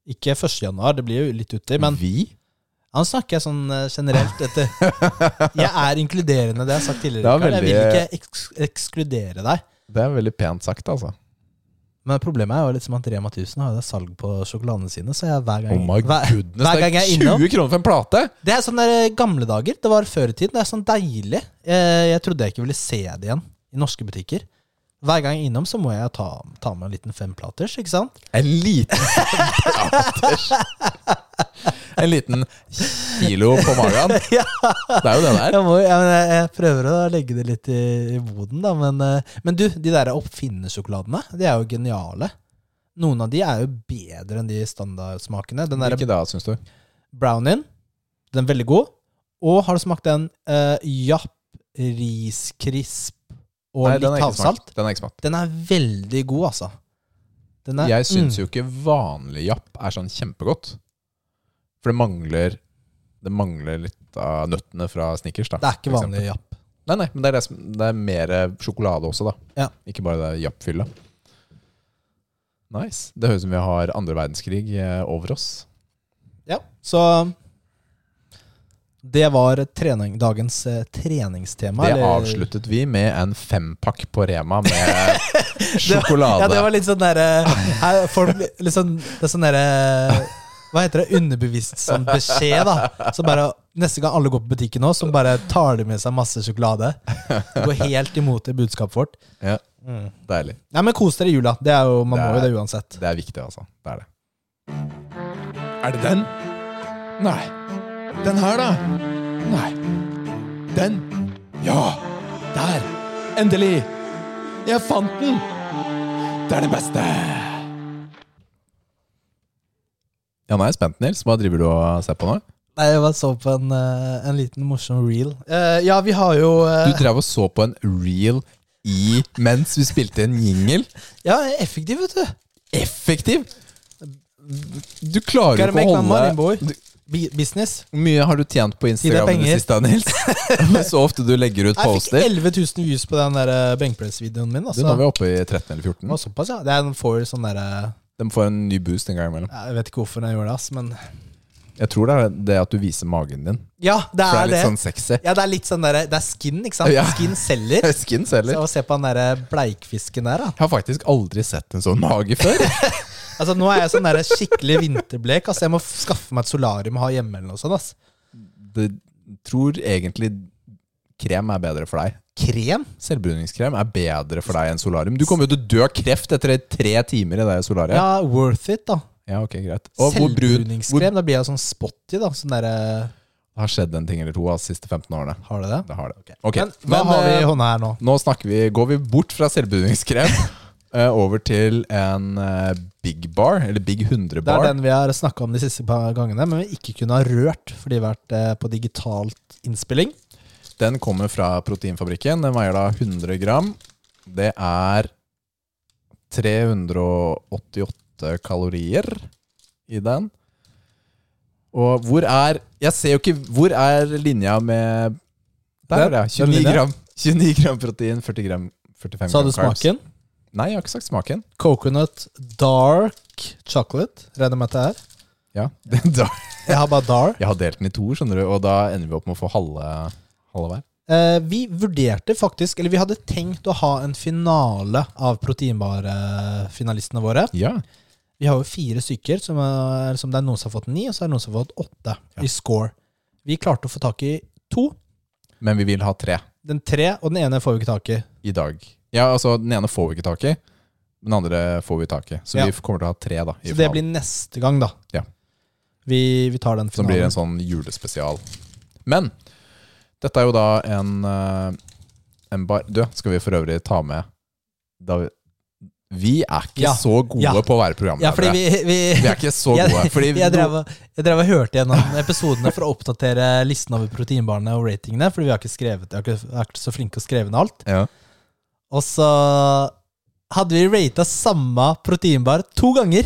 A: Ikke 1. januar, det blir jo litt uti, men
B: vi?
A: ja, nå snakker jeg sånn eh, generelt. Etter.
B: *laughs*
A: Jeg er inkluderende, det jeg har jeg sagt tidligere.
B: Det er
A: Rikard. Jeg vil ikke eks ekskludere deg.
B: Det er veldig pent sagt, altså.
A: Men problemet er jo liksom at Rema 1000 har jo det salg på sjokoladene sine. Så jeg hver gang,
B: Oh my
A: hver,
B: goodness,
A: hver gang
B: det
A: jeg
B: er
A: er
B: 20
A: innom
B: kroner for en plate!
A: Det er sånn der gamle dager. Det var før i tiden. Det er sånn deilig. Eh, Jeg trodde jeg ikke ville se det igjen i norske butikker. Hver gang jeg er innom, så må jeg ta, ta med en liten femplaters, ikke sant? *laughs*
B: En liten *laughs* platers. En liten kilo på magen.
A: Ja.
B: Det er jo det der.
A: Jeg, må, jeg, men jeg, jeg prøver å legge det litt i, i boden, da. Men, eh, men du, de der oppfinnersjokoladene, de er jo geniale. Noen av de er jo bedre enn de standardsmakene. Den der
B: Ikke da, syns du?
A: brownien. Den er veldig god. Og har du smakt den eh, Japp riskrisp og
B: Nei, den er
A: litt
B: ikke smakt.
A: havsalt?
B: Den er ikke smakt.
A: Den er veldig god, altså. Den er, mm.
B: Jeg syns jo ikke vanlig japp er sånn kjempegodt. For det mangler Det mangler litt av nøttene fra Snickers. da
A: Det er ikke
B: for
A: vanlig
B: eksempel.
A: japp.
B: Nei, nei, men det er, det, som- det er mer eh, sjokolade også, da.
A: Ja.
B: Ikke bare det jappfyllet. Nice. Det høres ut som vi har andre verdenskrig eh, over oss.
A: Ja, så det var trening, dagens eh, treningstema.
B: Det
A: eller-
B: avsluttet vi med en fempakk på
A: *laughs*
B: Rema med sjokolade.
A: Ja, det var litt sånn derre her er Folk litt sånn Det er sånn derre Hva heter det? Underbevisst sånn beskjed, da. Så bare Neste gang alle går på butikken nå, så bare tar de med seg masse sjokolade. Går helt imot det budskapet vårt.
B: Ja,
A: Mm.
B: Deilig.
A: Nei, men kos dere i jula. Det er jo, Man
B: Det
A: må jo
B: er-
A: det uansett.
B: Det er viktig, altså. Det er det. Er det den? Nei. Den her, da? Nei. Den? Ja! Der! Endelig! Jeg fant den! Det er det beste! Ja, nå er jeg spent, Nils. Hva driver du og ser på nå?
A: Nei, Jeg bare så på en, eh, en liten morsom reel. Eh, ja, vi har jo eh,
B: Du drev og så på en reel i mens vi spilte en jingle.
A: Ja, effektiv, vet du.
B: Effektiv! Du klarer jo
A: Gotta
B: ikke
A: make
B: å
A: my money, boy.
B: holde du,
A: Bi- business.
B: Hvor mye har du tjent på Instagram i
A: penger.
B: det siste, Nils? Med
A: *laughs*
B: *laughs* så ofte du legger ut
A: Jeg fikk
B: poster.
A: 11 000 views på den der eh, benkpress-videoen min.
B: Du, nå
A: Altså.
B: er vi oppe i 13 eller
A: Det var
B: 14.
A: såpass, ja. Det er en får sånn der, eh,
B: De får en ny boost en gang imellom.
A: Jeg vet ikke hvorfor den gjorde det, ass, men
B: Jeg tror det er det at du viser magen din.
A: Ja, det
B: For det
A: er
B: er
A: det.
B: litt sånn
A: *laughs*
B: sexy.
A: Ja, det er litt sånn der, Det er skin, ikke sant?
B: Ja.
A: Skin
B: *laughs*
A: selger.
B: Skins,
A: Så
B: eller?
A: Se på den der bleikfisken der, da.
B: Jeg har faktisk aldri sett en sånn mage
A: *laughs*
B: før.
A: Altså, Nå er jeg sånn der skikkelig vinterblek. Altså, Jeg må skaffe meg et solarium å ha hjemme. eller noe sånt, ass.
B: Det tror egentlig krem er bedre for deg.
A: Krem?
B: Selvbruningskrem er bedre for deg enn solarium. Du kommer jo til å dø av kreft etter tre timer i det solariet.
A: Ja, worth it, da.
B: Ja, ok, greit. Og hvor brun hvor,
A: Selvbruningskrem. Da blir jeg sånn spotty, da. Sånn derre
B: Det har skjedd en ting eller to av de siste 15 årene.
A: Har du det?
B: Det har det. Ok,
A: Men hva har vi i
B: eh,
A: hånda her nå?
B: nå snakker vi, går vi bort fra
A: *laughs*
B: selvbruningskrem eh, over til en eh, Big Bar, eller Big 100
A: Det er
B: Bar.
A: den vi har snakka om de siste par gangene, men vi ikke kunne ha rørt fordi vi har vært eh, på digitalt innspilling.
B: Den kommer fra proteinfabrikken. Den veier da 100 gram. Det er 388 kalorier i den. Og hvor er Jeg ser jo ikke Hvor er linja med Der
A: Den-
B: er det, ja.
A: den
B: 29
A: linja?
B: gram, 29 gram protein, 40 gram 45
A: Sa du
B: gram carbs.
A: smaken?
B: Nei, jeg har ikke sagt smaken.
A: Coconut dark chocolate, regner jeg med at det er.
B: Ja, *laughs* det- da,
A: Jeg har bare dark.
B: Jeg har delt den i to, skjønner du, og da ender vi opp med å få halve, halve hver.
A: Eh, vi vurderte faktisk, eller vi hadde tenkt å ha en finale av proteinbarfinalistene våre.
B: Ja.
A: Vi har jo fire stykker, som, er, som det er noen som har fått ni, og så er det noen som har fått åtte
B: Ja.
A: i score. Vi klarte å få tak i to.
B: Men vi vil ha tre
A: Den tre, og den ene får vi ikke tak i.
B: i dag. Ja, altså, den ene får vi ikke tak i, men den andre får vi tak i. Så
A: Ja.
B: vi kommer til å ha tre, da. i
A: Så det
B: finalen,
A: blir neste gang, da.
B: Ja.
A: Vi, vi tar den
B: som blir
A: finalen.
B: en sånn julespesial. Men dette er jo da en, eh, en bar Du, skal vi for øvrig ta med da vi, vi er ikke
A: Ja.
B: så gode
A: Ja.
B: på å være programledere.
A: ja, fordi vi, vi,
B: Vi er
A: *laughs*
B: ikke så
A: Jeg-
B: gode. Fordi
A: jeg, drev, og- jeg drev og hørte gjennom episodene for å oppdatere listen over proteinbarene og ratingene, fordi vi har ikke skrevet Jeg har ikke vært så flinke til å skrive ned alt.
B: ja.
A: Og så hadde vi rata samme proteinbar to
B: *laughs*
A: ganger.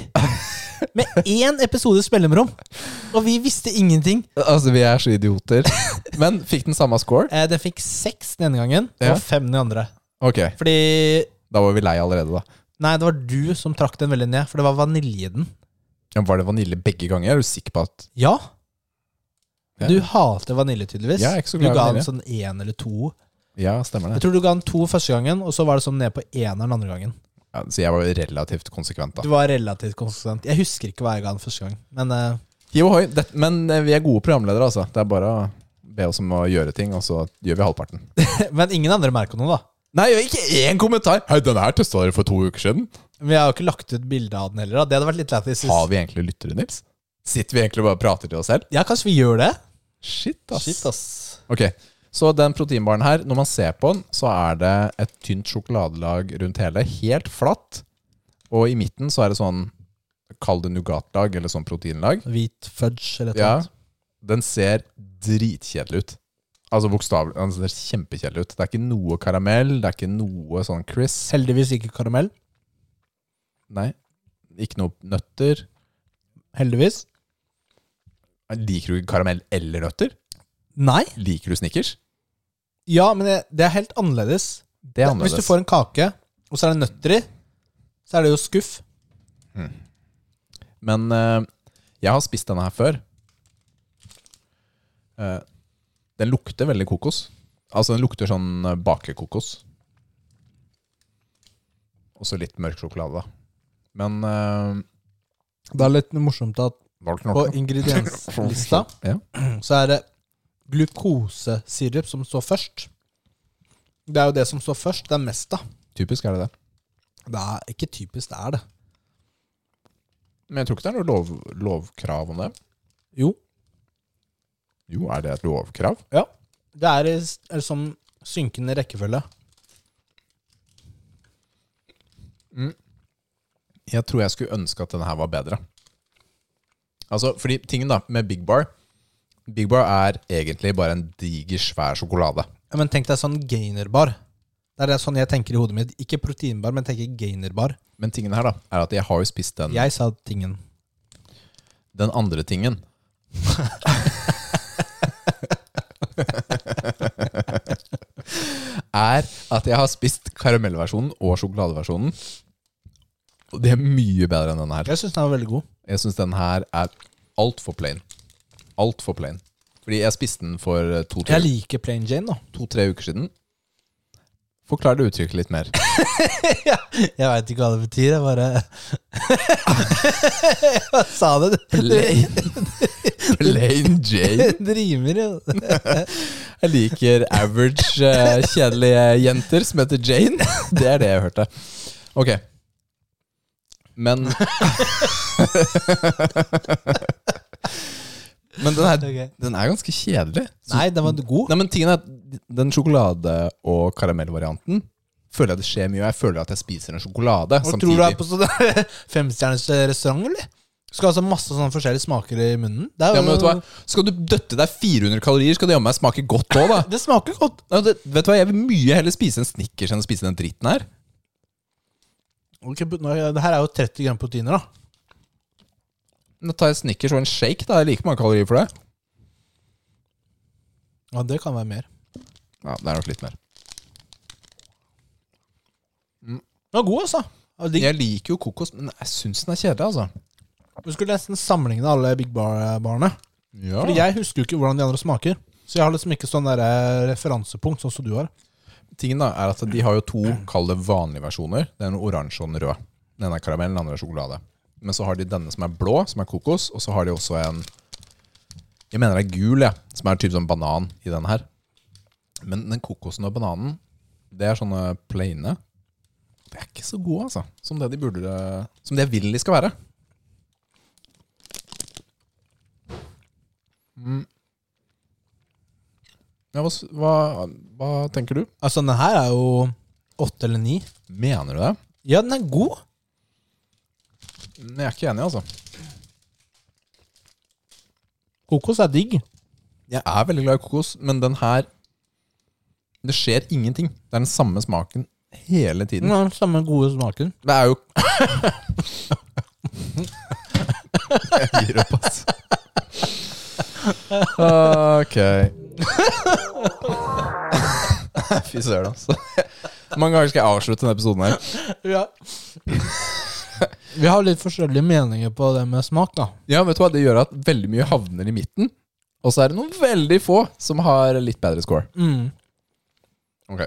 A: Med én episodes mellomrom. Og vi visste ingenting.
B: Altså, vi er så
A: *laughs*
B: idioter. Men fikk den samme score?
A: Eh, Den fikk seks den ene gangen,
B: Ja.
A: og fem den andre.
B: Ok,
A: Fordi
B: da var vi lei allerede, da.
A: Nei, det var du som trakk den veldig ned, for det var vanilje i den.
B: Ja, var det vanilje begge ganger? Er du sikker på at
A: Ja.
B: Ja.
A: Du hater vanilje, tydeligvis.
B: Jeg er ikke så
A: du
B: glad i
A: ga den
B: vanilje.
A: sånn én eller to.
B: Ja, stemmer
A: Jeg
B: det.
A: tror du ga den to første gangen, og så var det sånn ned på eneren andre gangen.
B: Ja, så jeg var jo relativt konsekvent,
A: Du
B: da.
A: var relativt konsistent. Jeg husker ikke hva jeg ga den første gang, men eh, *laughs*
B: Jo, hoi, det, men eh, vi er gode programledere, altså. Det er bare å be oss om å gjøre ting, og så gjør vi halvparten.
A: Men ingen andre merker noe, da.
B: Nei, og ikke én kommentar! Hei, den her testa dere for to uker siden.
A: Vi har jo ikke lagt ut bilde av den heller. da Det hadde vært litt lættis. hvis-
B: Har vi egentlig lyttere, Nils? Sitter vi egentlig og bare prater til oss selv?
A: Ja, kanskje vi gjør det?
B: Shit, ass.
A: Shit, ass.
B: Ok, så den proteinbaren her, når man ser på den, så er det et tynt sjokoladelag rundt hele, helt flatt. Og i midten så er det sånn, kall det nougatlag, eller sånn proteinlag.
A: Hvit fudge eller noe
B: Ja,
A: annet.
B: den ser dritkjedelig ut. Altså bokstavelig, den ser kjempekjedelig ut. Det er ikke noe karamell, det er ikke noe sånn crisp.
A: Heldigvis ikke karamell.
B: Nei, ikke noe nøtter.
A: Heldigvis.
B: Liker du ikke karamell eller nøtter?
A: Nei.
B: Liker du Snickers?
A: Ja, men det, det er helt annerledes.
B: Det er annerledes.
A: Hvis du får en kake, og så er det nøtter i, så er det jo skuff.
B: Men eh, jeg har spist denne her før. Eh, den lukter veldig kokos. Altså, den lukter sånn eh, bakekokos. Og så litt mørk sjokolade, da. Men eh,
A: Det er litt morsomt at
B: valgt
A: på
B: nok, da. *laughs*
A: ingredienslista
B: Ja.
A: så er det glukosesirup som står først. Det er jo det som står først. Det er mest, da.
B: Typisk er det det.
A: Det er ikke typisk, det er det.
B: Men jeg tror ikke det er noe lov, lovkrav om det.
A: Jo.
B: Jo, er det et lovkrav?
A: Ja. Det er i s- er som synkende rekkefølge.
B: Jeg tror jeg skulle ønske at denne her var bedre. Altså, fordi tingen da, med Big Bar Big Bar er egentlig bare en diger, svær sjokolade.
A: Ja, men tenk deg sånn gainerbar. Det er det sånn jeg tenker i hodet mitt. Ikke proteinbar, men tenker gainerbar.
B: Men tingen her da, er at jeg har jo spist den,
A: Jeg sa tingen.
B: den andre tingen. *laughs* er at jeg har spist karamellversjonen og sjokoladeversjonen. Og det er mye bedre enn denne her.
A: Jeg syns den var veldig god.
B: Jeg syns den her er altfor plain. Altfor plain. Fordi jeg spiste den for eh, to-tre
A: Jeg liker plain Jane, da.
B: to, tre uker siden. Forklar det uttrykket litt *laughs* mer.
A: *laughs* Jeg veit ikke hva det betyr. Jeg bare *laughs* Hva sa du? Det,
B: Plain Jane.
A: *laughs* det rimer jo.
B: Jeg liker average, eh, kjedelige jenter som heter Jane. Det er det jeg hørte. Ok. *laughs* Men Men den er,
A: Ok.
B: den er ganske kjedelig. Så-
A: Nei, den var god.
B: Nei, men tingen er at Den sjokolade- og karamellvarianten føler jeg det skjer mye. og Jeg føler at jeg spiser en sjokolade
A: Hva
B: samtidig.
A: tror du er på *laughs* sånn femstjerners restaurant, eller? Skal ha så masse sånne forskjellige smaker i munnen. Det, er
B: ja,
A: jo-
B: men vet du hva? Skal du døtte deg 400 kalorier, skal det jammen meg smake godt òg, *laughs* da.
A: det smaker godt.
B: Ja, det, vet du hva, Jeg vil mye heller spise en Snickers enn å spise den dritten her.
A: Ok, but nå- det her er jo 30 gram proteiner, da.
B: Nå tar jeg Snickers og en shake. da, Jeg liker mange kalorier for det.
A: Ja, Det kan være mer.
B: Ja, Det er nok litt mer.
A: Den var god, altså. Ja, digg.
B: Jeg liker jo kokos, men jeg syns den er kjedelig. altså.
A: Du skulle nesten sammenligne alle Big Bar-barene.
B: Ja.
A: Fordi jeg husker jo ikke hvordan de andre smaker. Så jeg har liksom ikke sånn der eh, referansepunkt, sånn som du har.
B: Tingen da, er at De har jo to kall det vanlige versjoner. Det er en oransje og en rød. Den ene er karamell, den andre er sjokolade. Men så har de denne som er blå, som er kokos. Og så har de også en Jeg mener det er gul, jeg. Som er typ sånn banan i den her. Men den kokosen og bananen, det er sånne plaine. De er ikke så gode, altså. Som det de burde Som det jeg vil de skal være. Mm. Ja, hva, s- hva, hva tenker du?
A: Altså, den her er jo åtte eller ni.
B: Mener du det?
A: Ja, den er god.
B: Jeg er ikke enig, altså.
A: Kokos er digg.
B: Jeg er veldig glad i kokos, men den her Det skjer ingenting. Det er den samme smaken hele tiden.
A: Den har den samme gode smaken.
B: Det er jo *laughs* Jeg gir opp, ass. Ok. *laughs* Fy søren, altså. Mange ganger skal jeg avslutte denne episoden her.
A: *laughs* Ja. *laughs* Vi har litt forskjellige meninger på det med smak, da.
B: Ja, vet du hva? Det gjør at veldig mye havner i midten, og så er det noen veldig få som har litt bedre score.
A: Mm.
B: Ok.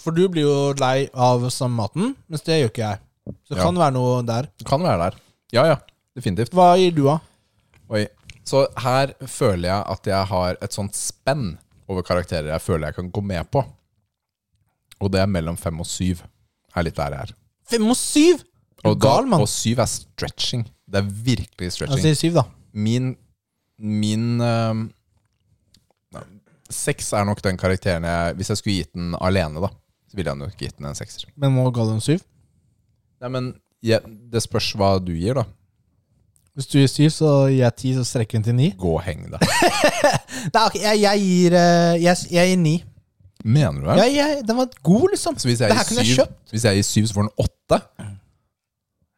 A: For du blir jo lei av samme maten, mens det gjør ikke jeg. Så det
B: Ja.
A: kan være noe der.
B: Det kan være der. Ja, ja. Definitivt.
A: Hva gir du av?
B: Oi. Så her føler jeg at jeg har et sånt spenn over karakterer jeg føler jeg kan gå med på. Og det er mellom fem og syv. Er litt der jeg er.
A: Fem og syv!
B: Og, da-
A: gal, mann.
B: og syv er stretching. Det er virkelig
A: Jeg
B: stretching.
A: sier syv, da.
B: min Min ehm, ja, Seks er nok den karakteren jeg Hvis jeg skulle gitt den alene, da, så ville jeg nok gitt den en sekser.
A: Men må ga du en syv?
B: Nei, men jeg, det spørs hva du gir, da.
A: Hvis du gir syv, så gir jeg ti, så strekker hun til ni.
B: Gå og heng deg.
A: Nei, ok, jeg, jeg gir eh, jeg, jeg gir ni.
B: Mener du det?
A: Jeg, jeg, den var god, liksom.
B: Så hvis jeg,
A: Det
B: gir
A: her kunne jeg
B: syv,
A: kjøpt.
B: hvis jeg gir syv, så får den åtte?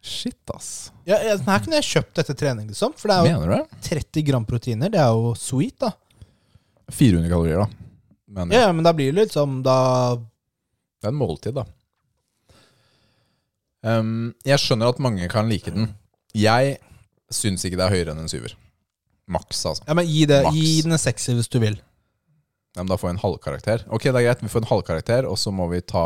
B: Shit, ass.
A: Ja, ja, den her kunne jeg kjøpt etter trening, liksom. For det er jo
B: Mener du det?
A: 30 gram proteiner. Det er jo sweet, da.
B: 400 kalorier, da. Men
A: Ja, ja, men da blir det liksom da
B: det er en måltid, da. Ehm, jeg skjønner at mange kan like den. Jeg syns ikke det er høyere enn en syver. Maks, altså.
A: Ja, men gi, det,
B: Maks.
A: gi den en sekser hvis du vil.
B: Ja, men da får jeg en halvkarakter. Ok, det er greit, vi får en halvkarakter, og så må vi ta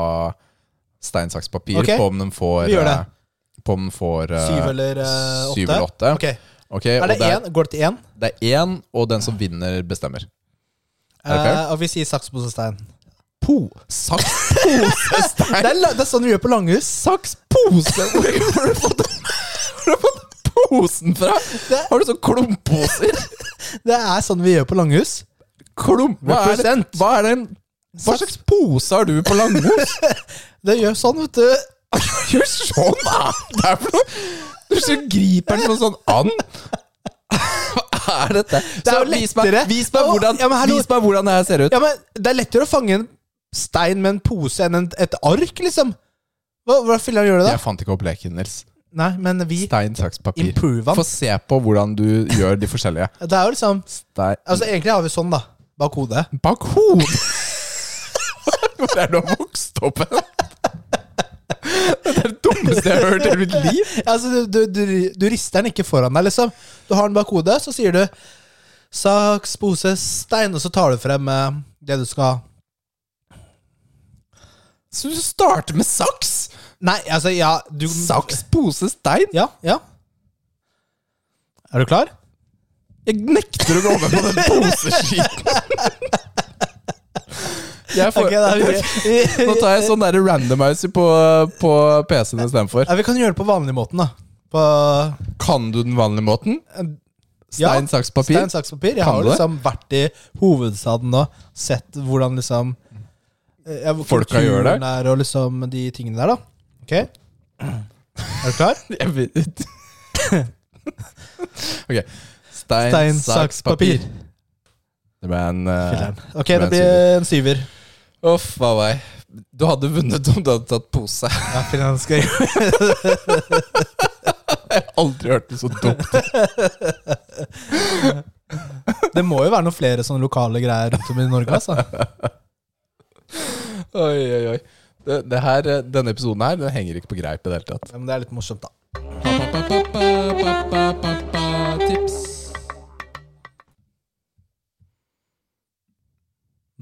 B: stein, saks, papir
A: Ok,
B: på om den får
A: vi gjør det.
B: eh, På om den får eh,
A: Syv eller eh,
B: syv eller
A: åtte?
B: åtte.
A: Ok,
B: Ok,
A: er
B: og
A: det én? Går det til én?
B: Det er én, og den som vinner, bestemmer. Er det fair?
A: Eh, og vi sier saks, pose, stein.
B: Po.
A: *laughs*
B: Saks, pose,
A: Det
B: stein.
A: er, la- det er sånn vi gjør på Langhus.
B: Saks, pose. *laughs* Hvor har du fått, hvor har du fått posen fra? Har du sånn klumpposer?
A: Det er sånn vi gjør på Langhus.
B: Klump? Hva er det?
A: Represent.
B: Hva, er det en, hva slags pose har du på langmos?
A: Det gjør sånn, vet du.
B: *laughs* Gjør sånn, da! Det er for noe Du så griper den som en sånn and. *laughs* Hva er dette?
A: Det er
B: Så
A: jo
B: vis meg,
A: lettere.
B: vis meg
A: Å,
B: hvordan,
A: ja, men hallo.
B: vis meg hvordan det her ser ut.
A: Ja, men Det er lettere å fange en stein med en pose enn en, et ark, liksom. Hva, hva filler'n gjør det, da?
B: Jeg fant ikke opp leken, Nils.
A: Nei, men vi
B: Stein, saks, papir.
A: improve
B: Få
A: den.
B: se på hvordan du gjør de forskjellige.
A: Det er jo liksom
B: Stein
A: Altså, Egentlig har vi sånn, da. Bak *laughs* hodet.
B: Bak hodet! *laughs* Hvor er det du har vokst opp hen? Det er det dummeste jeg har hørt i mitt liv.
A: Altså, du, du, du, du rister den ikke foran deg, liksom. Du har den bak hodet, så sier du saks, pose, stein, og så tar du frem eh, det du skal
B: Så du starter med saks?
A: Nei, altså, ja du,
B: Saks, pose, stein?
A: Ja, ja. Er du klar?
B: Jeg nekter å gå med på den poseskiten. Jeg får,
A: Ok, *laughs* da, vi,
B: nå tar jeg sånn der randomizer på, på PC-en istedenfor.
A: ja, vi kan gjøre det på vanlig måten, da. På
B: Kan du den vanlige måten?
A: Ja,
B: Stein, saks, papir?
A: stein, saks, papir. Jeg
B: Kan
A: har
B: du det?
A: liksom vært i hovedstaden og sett hvordan liksom eh, ja, hvor
B: Folka gjør det.
A: kulturen Er, og liksom de tingene der, da. Ok? Er du
B: *laughs*
A: klar?
B: Jeg vet ikke. Ok. Stein,
A: Stein, saks, papir.
B: Det ble en eh,
A: Filler'n. Ok,
B: det
A: det
B: ble
A: blir en syver.
B: Uff, hva var jeg? Du hadde vunnet om du hadde tatt pose. *laughs* Jeg
A: Ja, filler'n skal gjøre *laughs*
B: har aldri hørt det så dumt.
A: Det må jo være noen flere sånne lokale greier rundt om i Norge, altså.
B: Oi, oi, oi. Det, det her, eh, denne episoden her den henger ikke på greip i det hele tatt.
A: Ja, men det er litt morsomt, da.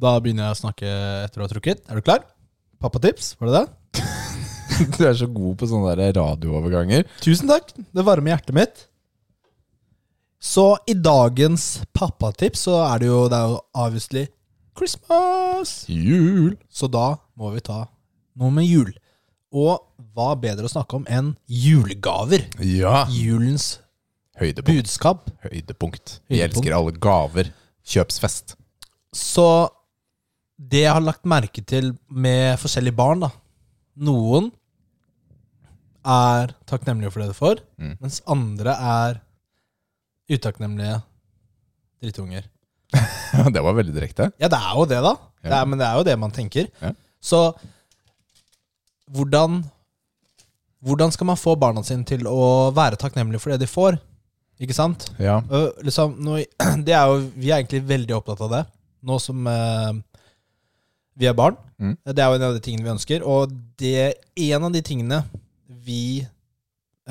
A: Da begynner jeg å snakke etter å ha trukket. Er du klar? Pappatips, var det det?
B: *laughs* Du er så god på sånne der radiooverganger.
A: Tusen takk. Det varmer hjertet mitt. Så i dagens pappatips så er det jo Det er jo obviously Christmas!
B: Jul.
A: Så da må vi ta noe med jul. Og hva bedre å snakke om enn julegaver?
B: Ja.
A: Julens
B: Høydepunkt.
A: budskap.
B: Høydepunkt.
A: Høydepunkt.
B: Vi elsker alle gaver. *laughs* Kjøpsfest.
A: Så det jeg har lagt merke til med forskjellige barn, da Noen er takknemlige for det de får,
B: Mm.
A: mens andre er utakknemlige drittunger.
B: Det var veldig direkte.
A: Ja, det er jo det, da.
B: Ja.
A: Det er, men det er jo det man tenker.
B: Ja.
A: Så hvordan Hvordan skal man få barna sine til å være takknemlige for det de får? Ikke sant?
B: Ja.
A: Øh, liksom, nå, *clears throat* det er jo, vi er egentlig veldig opptatt av det, nå som eh, vi er barn.
B: Mm.
A: Det er jo en av de tingene vi ønsker. Og det en av de tingene vi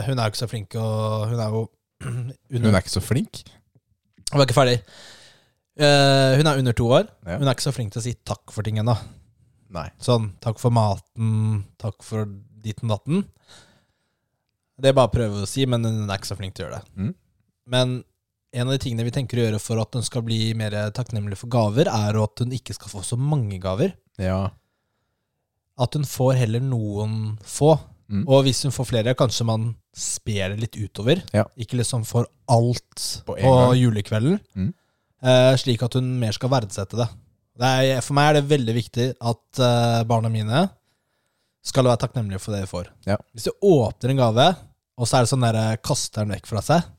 A: Hun er jo ikke så flink, og hun er jo *clears throat*
B: Hun
A: under,
B: er ikke så flink.
A: Jeg var ikke ferdig. Eh, hun er under to år.
B: Ja.
A: Hun er ikke så flink til å si takk for ting ennå.
B: Nei.
A: Sånn takk for maten, takk for ditten datten. Det er bare å prøve å si, men hun er ikke så flink til å gjøre det.
B: Mm.
A: Men en av de tingene vi tenker å gjøre for at hun skal bli mer takknemlig for gaver, er jo at hun ikke skal få så mange gaver.
B: Ja.
A: At hun får heller noen få.
B: Mm.
A: Og hvis hun får flere, kanskje man sper det litt utover.
B: Ja.
A: Ikke liksom får alt
B: På
A: på,
B: en gang.
A: julekvelden.
B: Mm.
A: Eh, slik at hun mer skal verdsette det. det er, for meg er det veldig viktig at eh, barna mine skal være takknemlige for det de får.
B: Ja.
A: Hvis de åpner en gave, og så er det sånn der eh, kaster den vekk fra seg,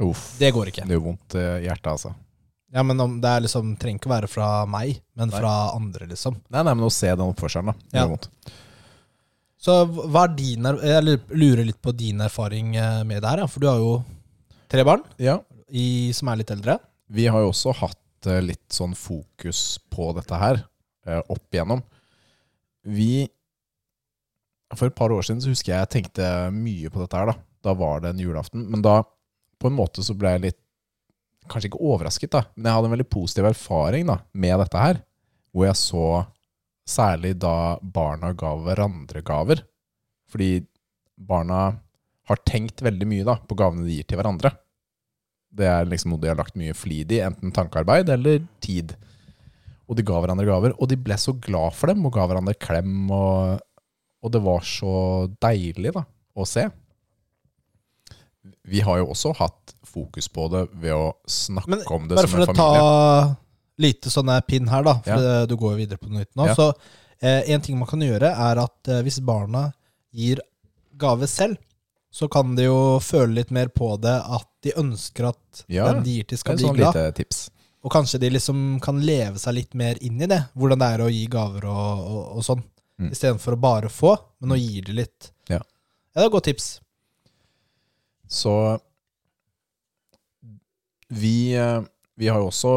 B: Uff.
A: det går ikke.
B: Det gjør vondt i hjertet, altså.
A: Ja, men om, Det er liksom, trenger ikke være fra meg, men fra andre, liksom.
B: Nei, nei, men å se den oppførselen, da. Det
A: Ja.
B: gjør vondt.
A: Så hva er din er- Jeg lurer litt på din erfaring eh, med det her, ja. for du har jo tre barn
B: Ja.
A: i, som er litt eldre.
B: Vi har jo også hatt eh, litt sånn fokus på dette her eh, opp igjennom. Vi For et par år siden så husker jeg jeg tenkte mye på dette her. Da Da var det en julaften. Men da, på en måte, så ble jeg litt Kanskje ikke overrasket, da, men jeg hadde en veldig positiv erfaring da med dette her. Hvor jeg så særlig da barna ga hverandre gaver. Fordi barna har tenkt veldig mye da på gavene de gir til hverandre. Det er liksom noe de har lagt mye flid i, enten tankearbeid eller tid. Og de ga hverandre gaver, og de ble så glad for dem og ga hverandre klem. Og, og det var så deilig da, å se. Vi har jo også hatt fokus på det ved å snakke
A: Men
B: om det
A: Bare
B: som
A: for
B: en
A: å
B: familie.
A: ta lite sånne pin her, da, for det- du går jo videre på noe nytt nå.
B: Ja.
A: Så eh, en ting man kan gjøre, er at eh, hvis barna gir gave selv, så kan de jo føle litt mer på det at de ønsker at
B: Ja,
A: den de gir til,
B: Det
A: skal
B: er
A: bli
B: sånn
A: glad.
B: lite tips.
A: Og kanskje de liksom kan leve seg litt mer inn i det, hvordan det er å gi gaver og, og, og sånn.
B: Mm.
A: Istedenfor å bare få, men å gi det litt.
B: Ja.
A: Ja, det er et godt tips.
B: Så vi, eh, vi har jo også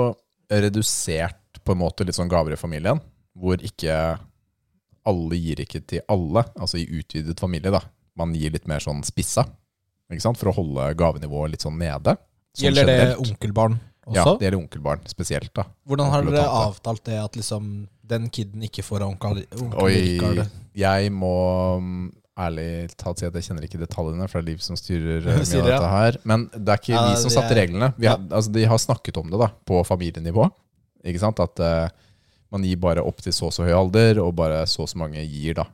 B: redusert på en måte litt sånn gaver i familien, hvor ikke alle gir ikke til alle, altså i utvidet familie da. Man gir litt mer sånn spissa, ikke sant? For å holde gavenivået litt sånn nede. Sånn
A: Gjelder det
B: generelt.
A: onkelbarn
B: Ja,
A: også.
B: det gjelder onkelbarn spesielt, da.
A: Hvordan har
B: Onkel og
A: dere
B: tante.
A: avtalt det at liksom den kiden ikke får av onkel, onkel
B: Oi,
A: Rikard?
B: jeg må mm, ærlig talt si at jeg kjenner ikke detaljene, for det er Liv som styrer eh,
A: *laughs*
B: mye
A: Sier
B: av
A: det, ja.
B: dette her. Men det er ikke
A: Ja,
B: vi som
A: det er-
B: satte reglene. Vi har, altså, de har snakket om det da, på familienivå. Ikke sant? At eh, man gir bare opp til så og så høy alder, og bare så og så mange gir da,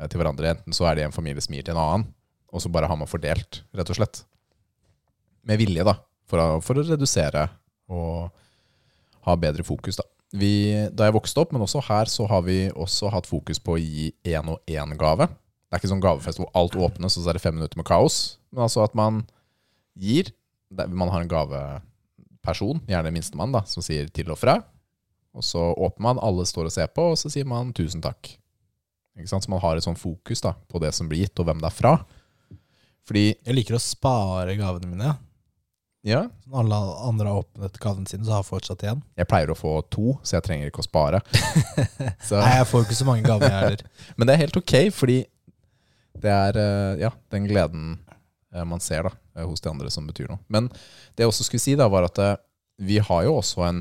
B: eh, til hverandre. Enten så er det en familie som gir til en annen, og så bare har man fordelt, rett og slett. Med vilje, da. For å, for å redusere og ha bedre fokus, da. Vi, da jeg vokste opp, men også her, så har vi også hatt fokus på å gi én og én gave. Det er ikke sånn gavefest hvor alt åpnes, og så er det fem minutter med kaos. Men altså at man gir det- Man har en gaveperson, gjerne minstemann, da, som sier til og fra. Og så åpner man, alle står og ser på, og så sier man tusen takk. Ikke sant? Så man har et sånn fokus da, på det som blir gitt, og hvem det er fra. Fordi
A: Jeg liker å spare gavene mine. ja.
B: ja,
A: Når alle andre har åpnet gavene sine, så har jeg fortsatt igjen.
B: jeg pleier å få to, så jeg trenger ikke å spare. Så-
A: Nei, jeg får ikke så mange gaver, jeg
B: *laughs*
A: heller.
B: Men det er helt ok, fordi det er eh, ja, den gleden eh, man ser da, eh, hos de andre som betyr noe. Men det jeg også skulle si, da, var at eh, vi har jo også en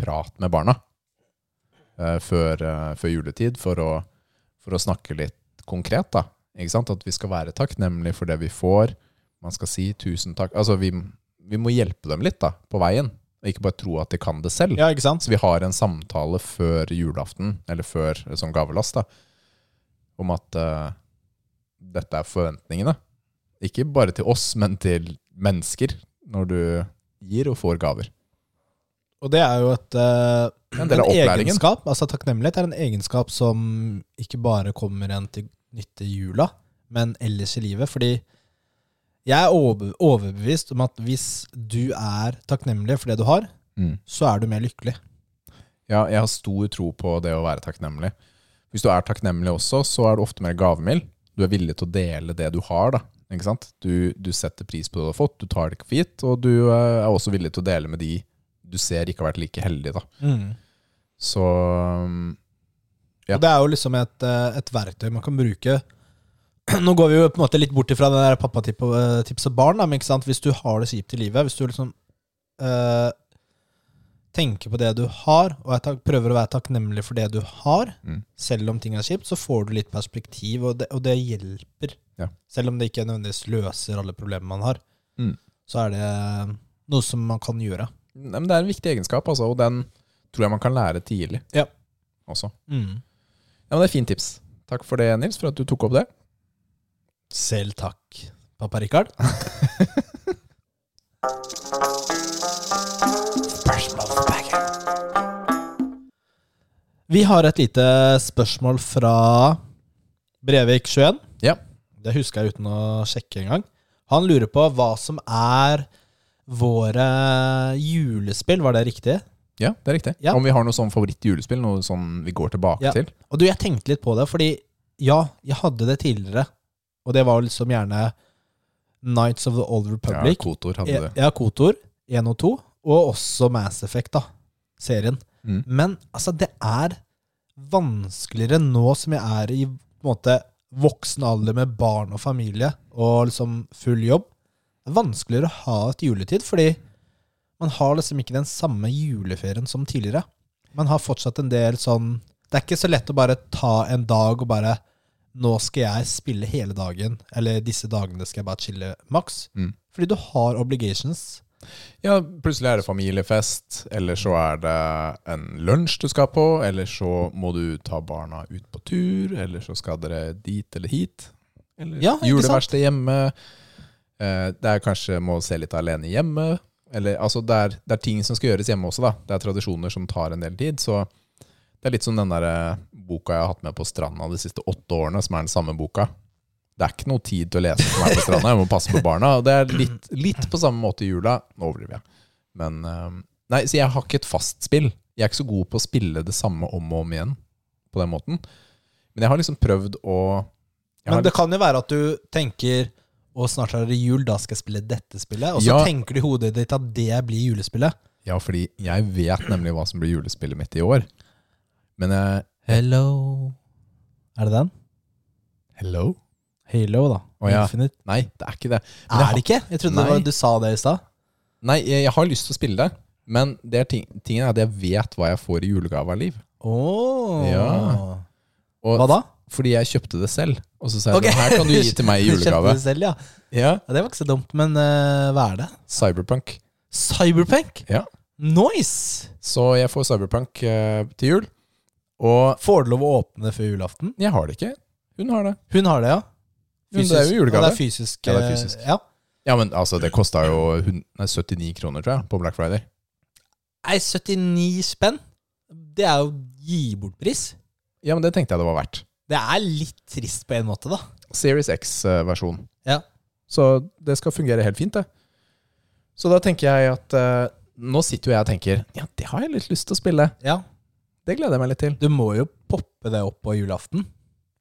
B: prat med barna eh, før, eh, før juletid for å, for å snakke litt konkret. da, ikke sant? At vi skal være takknemlige for det vi får. Man skal si tusen takk. Altså, vi, vi må hjelpe dem litt da, på veien, og ikke bare tro at de kan det selv.
A: Ja, ikke sant?
B: Så vi har en samtale før julaften, eller før et sånt gavelast, da, om at eh, dette er forventningene. Ikke bare til oss, men til mennesker, når du gir og får gaver.
A: Og det er jo et eh,
B: Det er en del av opplæringen.
A: egenskap, altså takknemlighet er en egenskap som ikke bare kommer en til nytte i jula, men ellers i livet. Fordi jeg er overbe- overbevist om at hvis du er takknemlig for det du har,
B: Mm.
A: så er du mer lykkelig.
B: Ja, jeg har stor tro på det å være takknemlig. Hvis du er takknemlig også, så er du ofte mer gavmild. Du er villig til å dele det du har, da. Ikke sant? Du, du setter pris på det du har fått, du tar det ikke for gitt, og du eh, er også villig til å dele med de du ser ikke har vært like heldige, da. Så mm, Ja.
A: Og det er jo liksom et, eh, et verktøy man kan bruke. *clears throat* Nå går vi jo på en måte litt bort ifra det der pappatips og barn, da, men ikke sant? hvis du har det kjipt i livet, hvis du liksom eh, tenker på det du har, og er tak- prøver å være takknemlig for det du har,
B: Mm.
A: selv om ting er kjipt, så får du litt perspektiv, og det, og det hjelper.
B: Ja.
A: Selv om det ikke nødvendigvis løser alle problemene man har,
B: Mm.
A: så er det eh, noe som man kan gjøre.
B: Nei, men det er en viktig egenskap, altså, og den tror jeg man kan lære tidlig.
A: Ja.
B: Også.
A: Mm.
B: Ja, men det er fint tips. Takk for det, Nils, for at du tok opp det.
A: Selv takk, pappa
B: *laughs*
A: Rikard. Vi har et lite spørsmål fra Brevik21.
B: Ja.
A: Det husker jeg uten å sjekke engang. Han lurer på hva som er våre julespill, var det riktig?
B: Ja, det er riktig.
A: Ja.
B: Om vi har noe sånn favorittjulespill, noe sånn vi går tilbake
A: Ja.
B: til.
A: Og du, jeg tenkte litt på det, fordi ja, jeg hadde det tidligere. Og det var jo liksom gjerne Nights of the Old
B: Ja,
A: Republic.
B: Kotor hadde
A: Ja,
B: det.
A: ja Kotor 1 og 2, og også Mass Effect, da. Serien.
B: Mm.
A: Men altså, det er vanskeligere nå som jeg er i på en måte voksen alder med barn og familie og liksom full jobb. Det er vanskeligere å ha et juletid, fordi man har liksom ikke den samme juleferien som tidligere. Man har fortsatt en del sånn Det er ikke så lett å bare ta en dag og bare Nå skal jeg spille hele dagen, eller disse dagene skal jeg bare chille maks.
B: Mm.
A: Fordi du har obligations.
B: Ja, plutselig er det familiefest, eller så er det en lunsj du skal på, eller så må du ta barna ut på tur, eller så skal dere dit eller hit. Eller
A: Ja, ikke
B: juleverksted hjemme. Eh, Det er kanskje må se litt alene hjemme. Eller, altså det, er, det er ting som skal gjøres hjemme også, da. Det er tradisjoner som tar en del tid. Så det er litt som den der eh, boka jeg har hatt med på stranda de siste åtte årene, som er den samme boka. Det er ikke noe tid til å lese som er på stranda. Jeg må passe på barna. Og det er litt, litt på samme måte i jula. Nå overdriver jeg. Men eh, Nei, så jeg har ikke et fast spill. Jeg er ikke så god på å spille det samme om og om igjen på den måten. Men jeg har liksom prøvd å jeg har
A: Men det kan jo være at du tenker å, snart er det jul, da skal jeg spille dette spillet. Og så
B: Ja.
A: tenker du i hodet ditt at det blir julespillet.
B: Ja, fordi jeg vet nemlig hva som blir julespillet mitt i år. Men eh,
A: Hello Er det den?
B: Hello?
A: Halo, da.
B: Å, ja.
A: Infinite.
B: Nei, det er ikke det. Men jeg
A: Er
B: har-
A: det ikke? Jeg trodde det
B: Nei.
A: var, du sa det i stad.
B: Nei, jeg, jeg har lyst til å spille det, Men det er ting, tingen er at jeg vet hva jeg får i julegave av Liv.
C: Oh.
B: Ja. Og,
A: Hva da?
B: Fordi jeg kjøpte det selv. Og så sa jeg
A: Ok.
B: den her kan du gi til
A: *laughs*
B: meg i
A: Kjøpte
B: julegave.
A: det selv, ja.
B: Ja,
A: ja. Det var ikke så dumt, men eh, hva er det?
B: Cyberpunk.
A: Cyberpunk?
B: Ja.
A: Nice!
B: Så jeg får Cyberpunk eh, til jul. Og
A: Får du lov å åpne før julaften?
B: jeg har det ikke. Hun har det.
A: Hun har det, ja.
B: Hun, det er jo julegave.
A: Ja, det er fysisk.
B: Ja, det er
A: eh,
B: fysisk.
A: Ja.
B: Ja, men altså, det kosta jo hun- nei, 79 kroner, tror jeg, på Black Friday.
A: Nei, 79 spenn. Det er jo gi bort-pris.
B: Ja, men det tenkte jeg det var verdt.
A: Det er litt trist på en måte, da.
B: Series X-versjon.
A: Ja.
B: Så det skal fungere helt fint, det. Så da tenker jeg at eh, Nå sitter jo jeg og tenker Ja, det har jeg litt lyst til å spille.
A: Ja.
B: Det gleder jeg meg litt til.
A: Du må jo poppe det opp på julaften.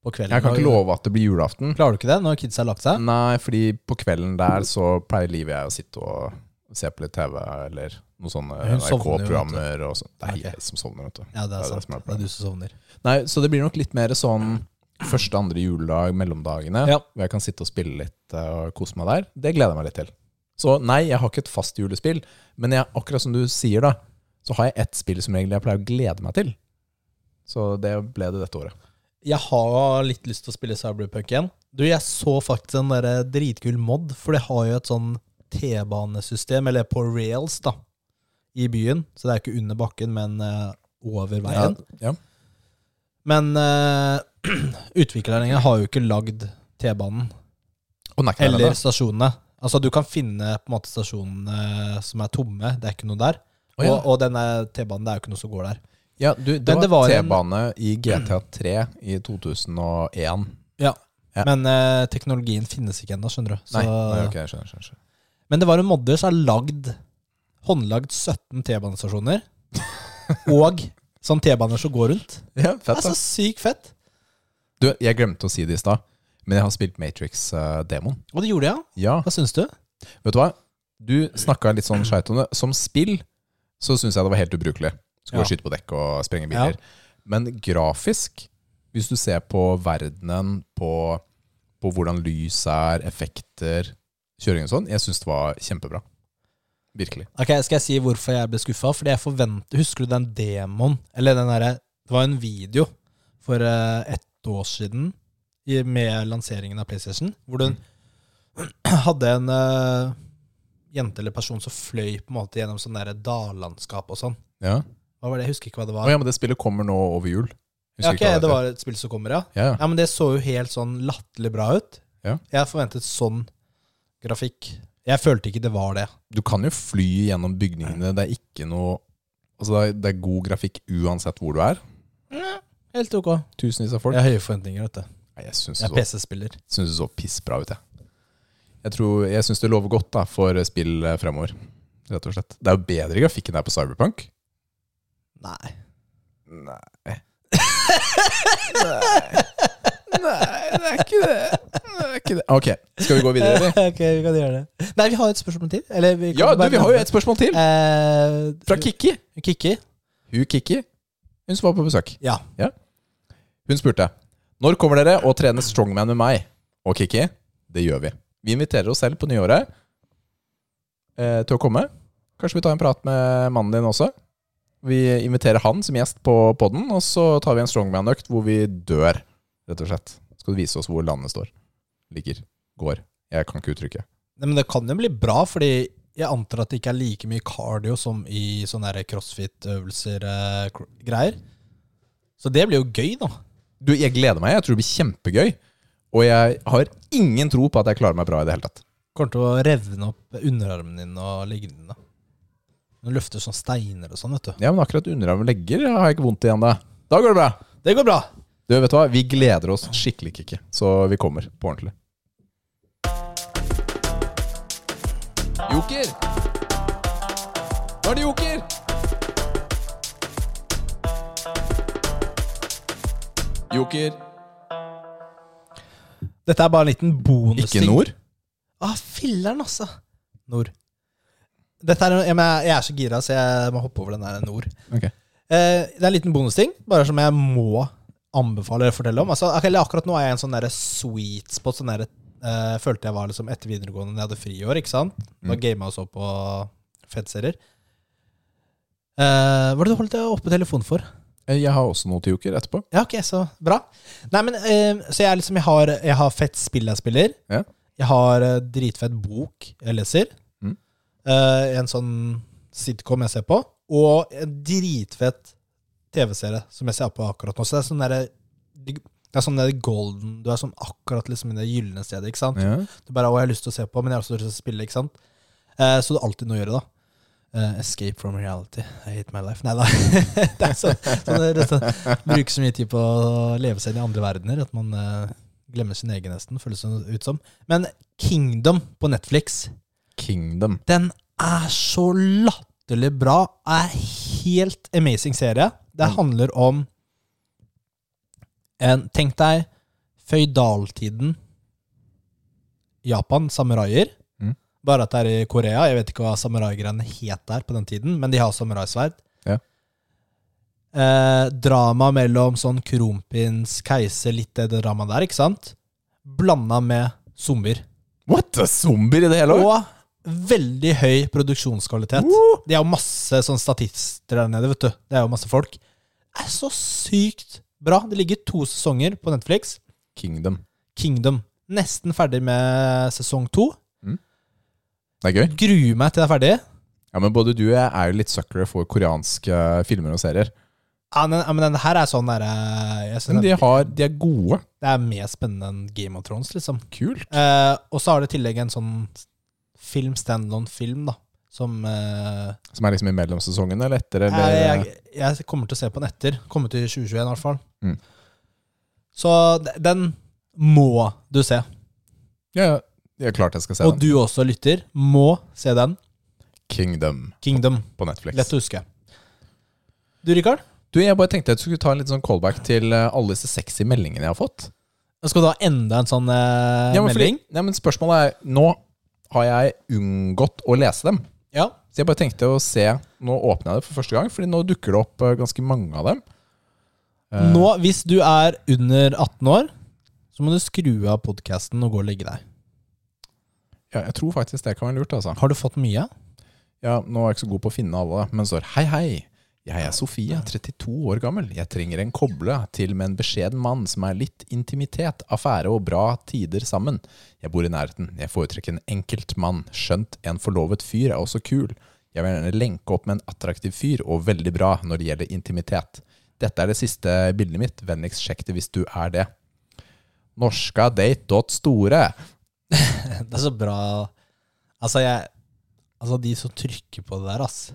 A: På kvelden.
B: Jeg kan ikke
A: Og-
B: love at det blir julaften.
A: Klarer du ikke det når kidsa har lagt seg?
B: Nei, fordi på kvelden der så pleier Liv og jeg å sitte og se på litt TV eller noen sånne
A: Hun sovner jo,
B: NRK-programmer og sånn. Det er
A: Ok.
B: jeg som sovner, vet du.
A: Ja, det
B: er
A: er
B: det
A: sant.
B: som er
A: Det er du som sovner.
B: Nei, så det blir nok litt mer sånn første, andre juledag, mellomdagene,
A: Ja.
B: hvor jeg kan sitte og spille litt eh, og kose meg der. Det gleder jeg meg litt til. Så nei, jeg har ikke et fast julespill, men jeg, akkurat som du sier da, så har jeg ett spill som regel jeg pleier å glede meg til. Så det ble det dette året.
A: Jeg har litt lyst til å spille Cyberpunk igjen. Du, jeg så faktisk en der eh, dritkul mod, for det har jo et sånn T-banesystem, eller på rails, da, i byen. Så det er ikke under bakken, men eh, over veien.
B: Ja.
A: Men uh, *clears throat* utviklerne har jo ikke lagd T-banen,
B: Og den er ikke der
A: eller
B: ennå.
A: stasjonene. Altså, du kan finne på en måte stasjonene eh, som er tomme, det er ikke noe der.
B: Å, ja.
A: Og, og denne T-banen, det er jo ikke noe som går der.
B: Ja, du, det
A: Men det
B: var
A: var en-
B: T-bane i GTA3 i 2001. Ja.
A: Men eh, teknologien finnes ikke ennå, skjønner du. Så-
B: Nei, nei, ok, jeg skjønner, skjønner, skjønner.
A: Men det var en modder som har lagd håndlagd 17 T-banestasjoner. og sånn T-baner som går rundt.
B: Ja,
A: Det
B: fett
A: er så
B: da.
A: sykt fett.
B: Du, jeg glemte å si det i stad, men jeg har spilt Matrix-demoen.
A: Og det gjorde jeg. ja.
B: Ja,
A: Hva syns du?
B: vet du hva? Du snakka litt sånn skeit om det. Som spill så syns jeg det var helt ubrukelig.
A: Ja.
B: Skulle gå og skyte på dekk og sprenge biler. Men grafisk, hvis du ser på verdenen, på, på hvordan lys er, effekter, kjøring og sånn, jeg syns det var kjempebra. Virkelig.
A: Ok, Skal jeg si hvorfor jeg ble skuffa? Fordi jeg forventer Husker du den demoen? Eller den derre Det var en video for eh, ett år siden i, med lanseringen av PlayStation, hvor du *clears throat* hadde en eh, jente eller person som fløy på en måte gjennom sånn derre dallandskap og sånn.
B: Ja.
A: Hva var det? Jeg husker ikke hva det
B: Å
A: var.
B: ja, men det spillet kommer nå over jul.
A: Ja,
B: Husker
A: ok,
B: ikke hva
A: det
B: heter.
A: var et spill som kommer, ja.
B: Ja, ja.
A: Ja, men det så jo helt sånn latterlig bra ut.
B: Ja.
A: Jeg forventet sånn grafikk. Jeg følte ikke det var det.
B: du kan jo fly gjennom bygningene. Det er ikke noe Altså, det er, det er god grafikk uansett hvor du er.
A: Helt ok.
B: Tusenvis av folk.
A: Jeg har høye forventninger, vet du.
B: Nei, jeg syns
A: Jeg er
B: det så,
A: PC-spiller.
B: syns det så pissbra ut, jeg. Jeg, tror- jeg syns det lover godt da, for spill eh, fremover, rett og slett. Det er jo bedre grafikk enn det er på Cyberpunk.
A: Nei.
B: Nei. Nei, det er ikke det. det, er ikke *laughs* det. Ok, skal vi gå videre, eller?
A: *laughs* ok, vi kan gjøre det. Nei, vi har et spørsmål til. Eller vi kan
B: Ja, du,
A: bare
B: vi har jo
A: nevne-
B: et spørsmål til!
A: Eh,
B: Fra Kikki.
A: Kikki.
B: Hun Kikki, hun som var på besøk.
A: Ja.
B: Hun spurte Når kommer dere og trener strongman med meg? Og Kikki, det gjør vi. Vi inviterer oss selv på nyåret eh, til å komme. Kanskje vi tar en prat med mannen din også. Vi inviterer han som gjest på podden, og så tar vi en strongman-økt hvor vi dør, rett og slett. Skal du vise oss hvor landet står? Ligger. Går. Jeg kan ikke uttrykke.
A: Nei, men det kan jo bli bra, fordi jeg antar at det ikke er like mye cardio som i sånne der crossfit-øvelser eh, cro- greier. Så det blir jo gøy, da.
B: Du, jeg gleder meg. Jeg tror det blir kjempegøy. Og jeg har ingen tro på at jeg klarer meg bra i det hele tatt.
A: Kommer til å revne opp underarmen din og leggene dine. Du løfter sånn steiner og sånn, vet du.
B: Ja, men akkurat underarm og legger har jeg ikke vondt igjen da. Da går det bra.
A: Det går bra!
B: Du, vet du hva? Vi gleder oss skikkelig, Kikki. Så vi kommer på ordentlig. Joker! Nå er det joker! Joker.
A: Dette er bare en liten bonusting.
B: Ikke nord?
A: Ah, filler'n, altså. Nord. Dette er, jeg, men jeg er så gira, så jeg må hoppe over den der nord.
B: Ok.
A: Eh, det er en liten bonusting, bare som jeg må anbefale å fortelle om. Altså, ak- eller akkurat nå er jeg i en sånn der sweet spot. Sånn der, eh, følte jeg var liksom etter videregående, da jeg hadde friår. ikke sant? Da
B: Mm.
A: gama og så på fettserier. Eh, hva var det du holdt oppe telefonen for?
B: Eh, Jeg har også noen til joker etterpå.
A: Ja, ok, så bra. Nei, men eh, Så jeg er liksom Jeg har, jeg har fett spill jeg spiller.
B: Ja.
A: Jeg har eh, dritfett bok jeg leser.
B: Mm.
A: Eh, en sånn sitcom jeg ser på. Og en dritfett TV-serie som jeg ser på akkurat nå. Så det er sånn derre det er sånn der golden Du er sånn akkurat liksom i det gylne stedet. ikke sant?
B: Ja.
A: Du bare 'Å, jeg har lyst til å se på, men jeg har også lyst til å spille', ikke sant? Eh, så det er alltid noe å gjøre, da. Eh, escape from reality. I hate my life. Nei da. *laughs* det er sånn, sånn, det er sånn Bruker så mye tid på å leve seg inn i andre verdener at man eh, glemmer sin egen, nesten, føles det ut som. Men Kingdom på Netflix,
B: Kingdom.
A: den er så latterlig bra. Er helt amazing serie. Det
B: Mm.
A: handler om en Tenk deg føydaltiden Japan, samuraier.
B: Mm.
A: Bare at det er i Korea. Jeg vet ikke hva samuraigreiene het der på den tiden, men de har samuraisverd.
B: Ja.
A: Eh, drama mellom sånn kronprins, keiser, litt det dramaet der, ikke sant? Blanda med zombier.
B: What? Det er Zombier i det hele?
A: Og veldig høy produksjonskvalitet. Det er jo masse sånn statister der nede, vet du. Det er jo masse folk. Det er så sykt bra. Det ligger to sesonger på Netflix.
B: Kingdom.
A: Kingdom. Nesten ferdig med sesong to.
B: Det er gøy.
A: Gruer meg til det er ferdig.
B: Ja, men både du og jeg er jo litt suckere for koreanske eh, filmer og serier.
A: Ja, men, ja, men den her er sånn derre Jeg
B: Men
A: synes
B: de, har, de er gode.
A: det er mer spennende enn Game of Thrones, liksom.
B: Kult.
A: Eh, og så har det i tillegg en sånn film, standalone-film, da, som eh,
B: Som er liksom imellom sesongene, eller etter, eller eh,
A: Jeg, jeg, jeg kommer til å se på den etter. Kommer til 2021 i hvert fall.
B: Mm.
A: Så d- den må du se.
B: Ja, ja. Det er klart jeg skal se
A: Og
B: den.
A: du også lytter, må se den.
B: Kingdom
A: Kingdom.
B: på Netflix.
A: Lett å huske. Du, Rikard?
B: Du, Jeg bare tenkte at du skulle ta en litt sånn callback til eh, alle disse sexy meldingene jeg har fått.
A: Skal du ha enda en sånn eh,
B: Ja, men, fordi,
A: melding?
B: ja, men spørsmålet er Nå har jeg unngått å lese dem.
A: Ja.
B: Så jeg bare tenkte å se Nå åpner jeg det for første gang, Fordi nå dukker det opp eh, ganske mange av dem. Eh,
A: Nå, hvis du er under 18 år, så må du skru av podkasten og gå og legge deg.
B: Ja, jeg tror faktisk det kan være lurt. altså
A: Har du fått mye?
B: Ja, Nå er jeg ikke så god på å finne alle, men står Hei, hei. Jeg er Sofia, 32 år gammel. Jeg trenger en koble til med en beskjeden mann som er litt intimitet, affære og bra tider sammen. Jeg bor i nærheten. Jeg foretrekker en enkelt mann, skjønt en forlovet fyr er også kul. Jeg vil gjerne lenke opp med en attraktiv fyr, og veldig bra når det gjelder intimitet. Dette er det siste bildet mitt. Vennligst sjekk det hvis du er det. Norskadate.store.
A: Det er så bra Altså, jeg Altså, de som trykker på det der, ass.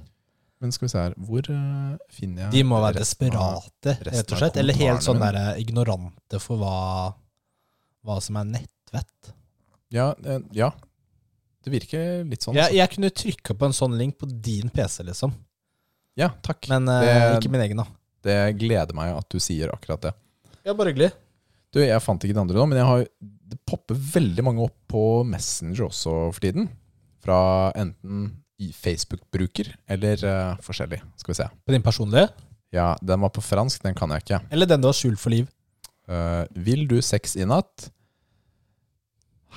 B: Men skal vi se her, hvor eh, finner jeg
A: De må være
B: resten av-
A: desperate, rett
B: resten
A: og
B: av
A: slett. Eller helt sånn
B: kommentarene
A: der eh, ignorante for hva, hva som er nettvett.
B: Sånn, Ja, eh, ja. Det virker litt sånn.
A: Jeg, jeg kunne trykka på en sånn link på din PC, liksom.
B: Ja, takk.
A: Men eh,
B: Det-
A: ikke min egen, da.
B: Det gleder meg at du sier akkurat det.
A: Ja, bare hyggelig.
B: Du, Jeg fant ikke det andre nå, men jeg har, det popper veldig mange opp på Messenger også for tiden. Fra enten i Facebook-bruker eller eh, forskjellig. Skal vi se.
A: På din personlige?
B: Ja, Den var på fransk, den kan jeg ikke.
A: Eller den du har skjult for liv?
B: Eh, vil du sex i natt?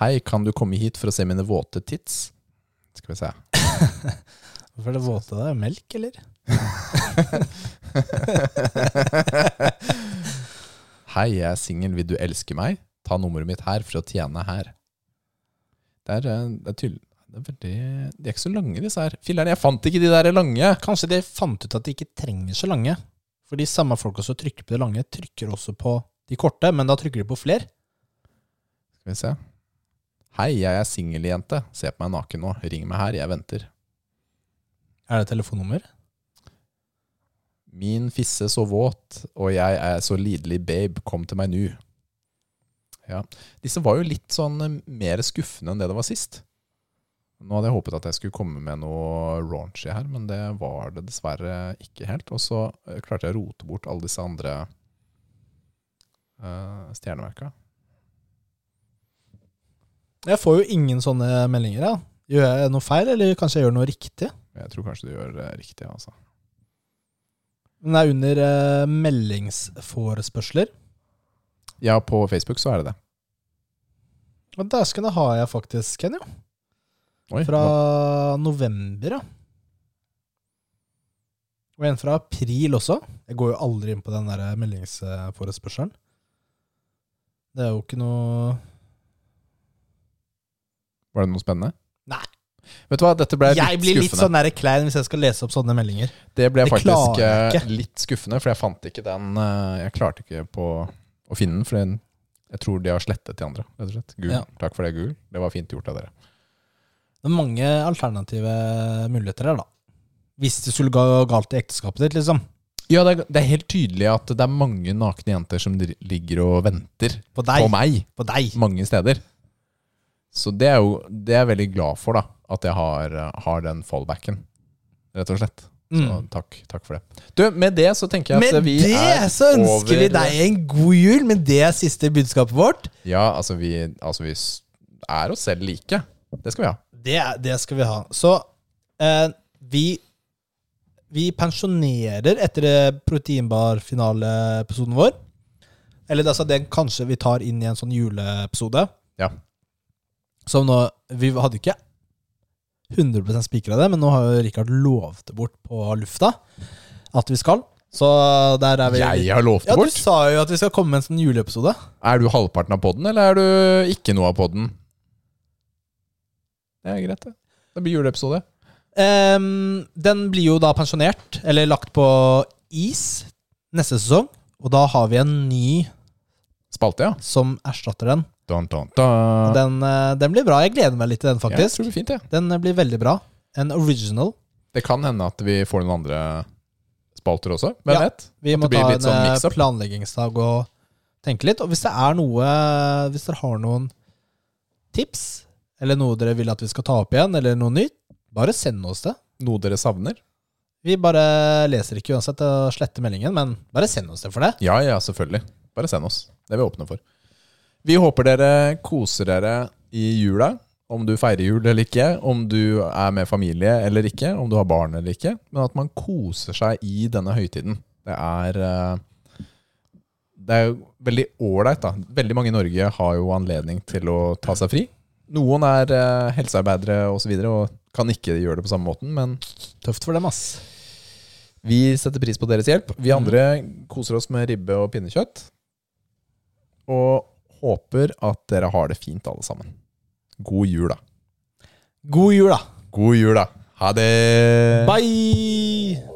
B: Hei, kan du komme hit for å se mine våte tits? Skal vi se.
A: Hvorfor er det våte der? Melk, eller?
B: Hei, jeg er singel, vil du elske meg? Ta nummeret mitt her for å tjene her. Det er, eh, det er tydelig det er veldig, De er ikke så lange, disse her. Filler'n, jeg fant ikke de der lange!
A: Kanskje de fant ut at de ikke trenger så lange. For de samme folka som trykker på de lange, trykker også på de korte, men da trykker de på flere.
B: Skal vi se. Hei, jeg er singeljente. Se på meg naken nå. Ring meg her, jeg venter.
A: Er det telefonnummer?
B: Min fisse så våt, og jeg er så lidelig babe, kom til meg nu. Ja. Disse var jo litt sånn eh, mer skuffende enn det det var sist. Nå hadde jeg håpet at jeg skulle komme med noe raunchy her, men det var det dessverre ikke helt. Og så eh, klarte jeg å rote bort alle disse andre eh, stjernemerka.
A: Jeg får jo ingen sånne meldinger, da. Gjør jeg noe feil, eller kanskje jeg gjør noe riktig?
B: Jeg tror kanskje du gjør det riktig, altså.
A: Men det er under eh, meldingsforespørsler.
B: Ja, på Facebook så er det det.
A: Og dæskene har jeg faktisk en, jo.
B: Oi,
A: Fra
B: hva-
A: november, ja. Og Og en fra april også. Jeg går jo aldri inn på den der eh, meldingsforespørselen. Det er jo ikke noe
B: Var det noe spennende?
A: Nei.
B: Vet du hva, dette ble litt
A: Jeg blir litt
B: skuffende.
A: sånn der klein hvis jeg skal lese opp sånne meldinger.
B: Det ble
A: Det
B: faktisk
A: klarer jeg
B: eh, litt skuffende, for jeg fant ikke den eh, Jeg klarte ikke på å finne den, for den, jeg tror de har slettet de andre. Rett og slett. Google.
A: Ja.
B: Takk for det, Google. Det var fint gjort av dere.
A: Det er mange alternative muligheter her, da. Hvis det skulle gå galt i ekteskapet ditt, liksom.
B: Ja, det er, det er helt tydelig at det er mange nakne jenter som dri- ligger og venter
A: På deg.
B: på meg
A: På deg.
B: mange steder. Så det er jo det er jeg veldig glad for, da. At jeg har, eh, har den fallbacken, rett og slett. Så
A: Mm.
B: takk, takk for det. Du, med det så tenker jeg at
A: Med
B: vi
A: det
B: er
A: så ønsker vi
B: over-
A: deg en god jul, men det er siste budskapet vårt.
B: Ja, altså vi, altså vi s- er oss selv like. Det skal vi ha.
A: Det, er- det skal vi ha. Så eh, vi Vi pensjonerer etter eh, proteinbar-finaleepisoden vår. Eller altså, den kanskje vi tar inn i en sånn juleepisode.
B: Ja.
A: Som nå Vi hadde ikke 100 spikra det, men nå har jo Rikard lovt det bort på lufta at vi skal. Så der er vi
B: Jeg har lovt det
A: Ja, du
B: bort.
A: sa jo at vi skal komme med en sånn juleepisode.
B: Er du halvparten av podden, eller er du ikke noe av podden? Det er greit, det. Det blir juleepisode.
A: Ehm, den blir jo da pensjonert, eller lagt på is, neste sesong. Og da har vi en ny
B: Spalte, ja.
A: som erstatter den.
B: Dun, dun, dun.
A: Den, eh, den blir bra. Jeg gleder meg litt til den,
B: Ja, jeg
A: faktisk.
B: tror det blir fint, jeg.
A: Den eh, blir veldig bra. En original.
B: Det kan hende at vi får noen andre spalter også. Hvem
A: Ja.
B: vet?
A: Vi
B: At
A: må
B: det blir
A: ta en
B: litt sånn
A: eh,
B: mix-up.
A: planleggingsdag og tenke litt. Og hvis det er noe Hvis dere har noen tips, eller noe dere vil at vi skal ta opp igjen, eller noe nytt, bare send oss det.
B: Noe dere savner?
A: Vi bare leser ikke uansett og sletter meldingen, men bare send oss det for det.
B: Ja, ja, selvfølgelig. Bare send oss. Det er vi åpne for. Vi håper dere koser dere i jula. Om du feirer jul eller ikke, om du er med familie eller ikke, om du har barn eller ikke. Men at man koser seg i denne høytiden. Det er eh, Det er jo veldig ålreit, da. Veldig mange i Norge har jo anledning til å ta seg fri. Noen er eh, helsearbeidere osv. Og, så videre, og kan ikke gjøre det på samme måten, men
A: Tøft for dem, ass.
B: vi setter pris på deres hjelp. Vi andre koser oss med ribbe og pinnekjøtt. Og håper at dere har det fint, alle sammen. God jul, da.
A: God jul, da.
B: God jul, da. Ha det!
A: Bye!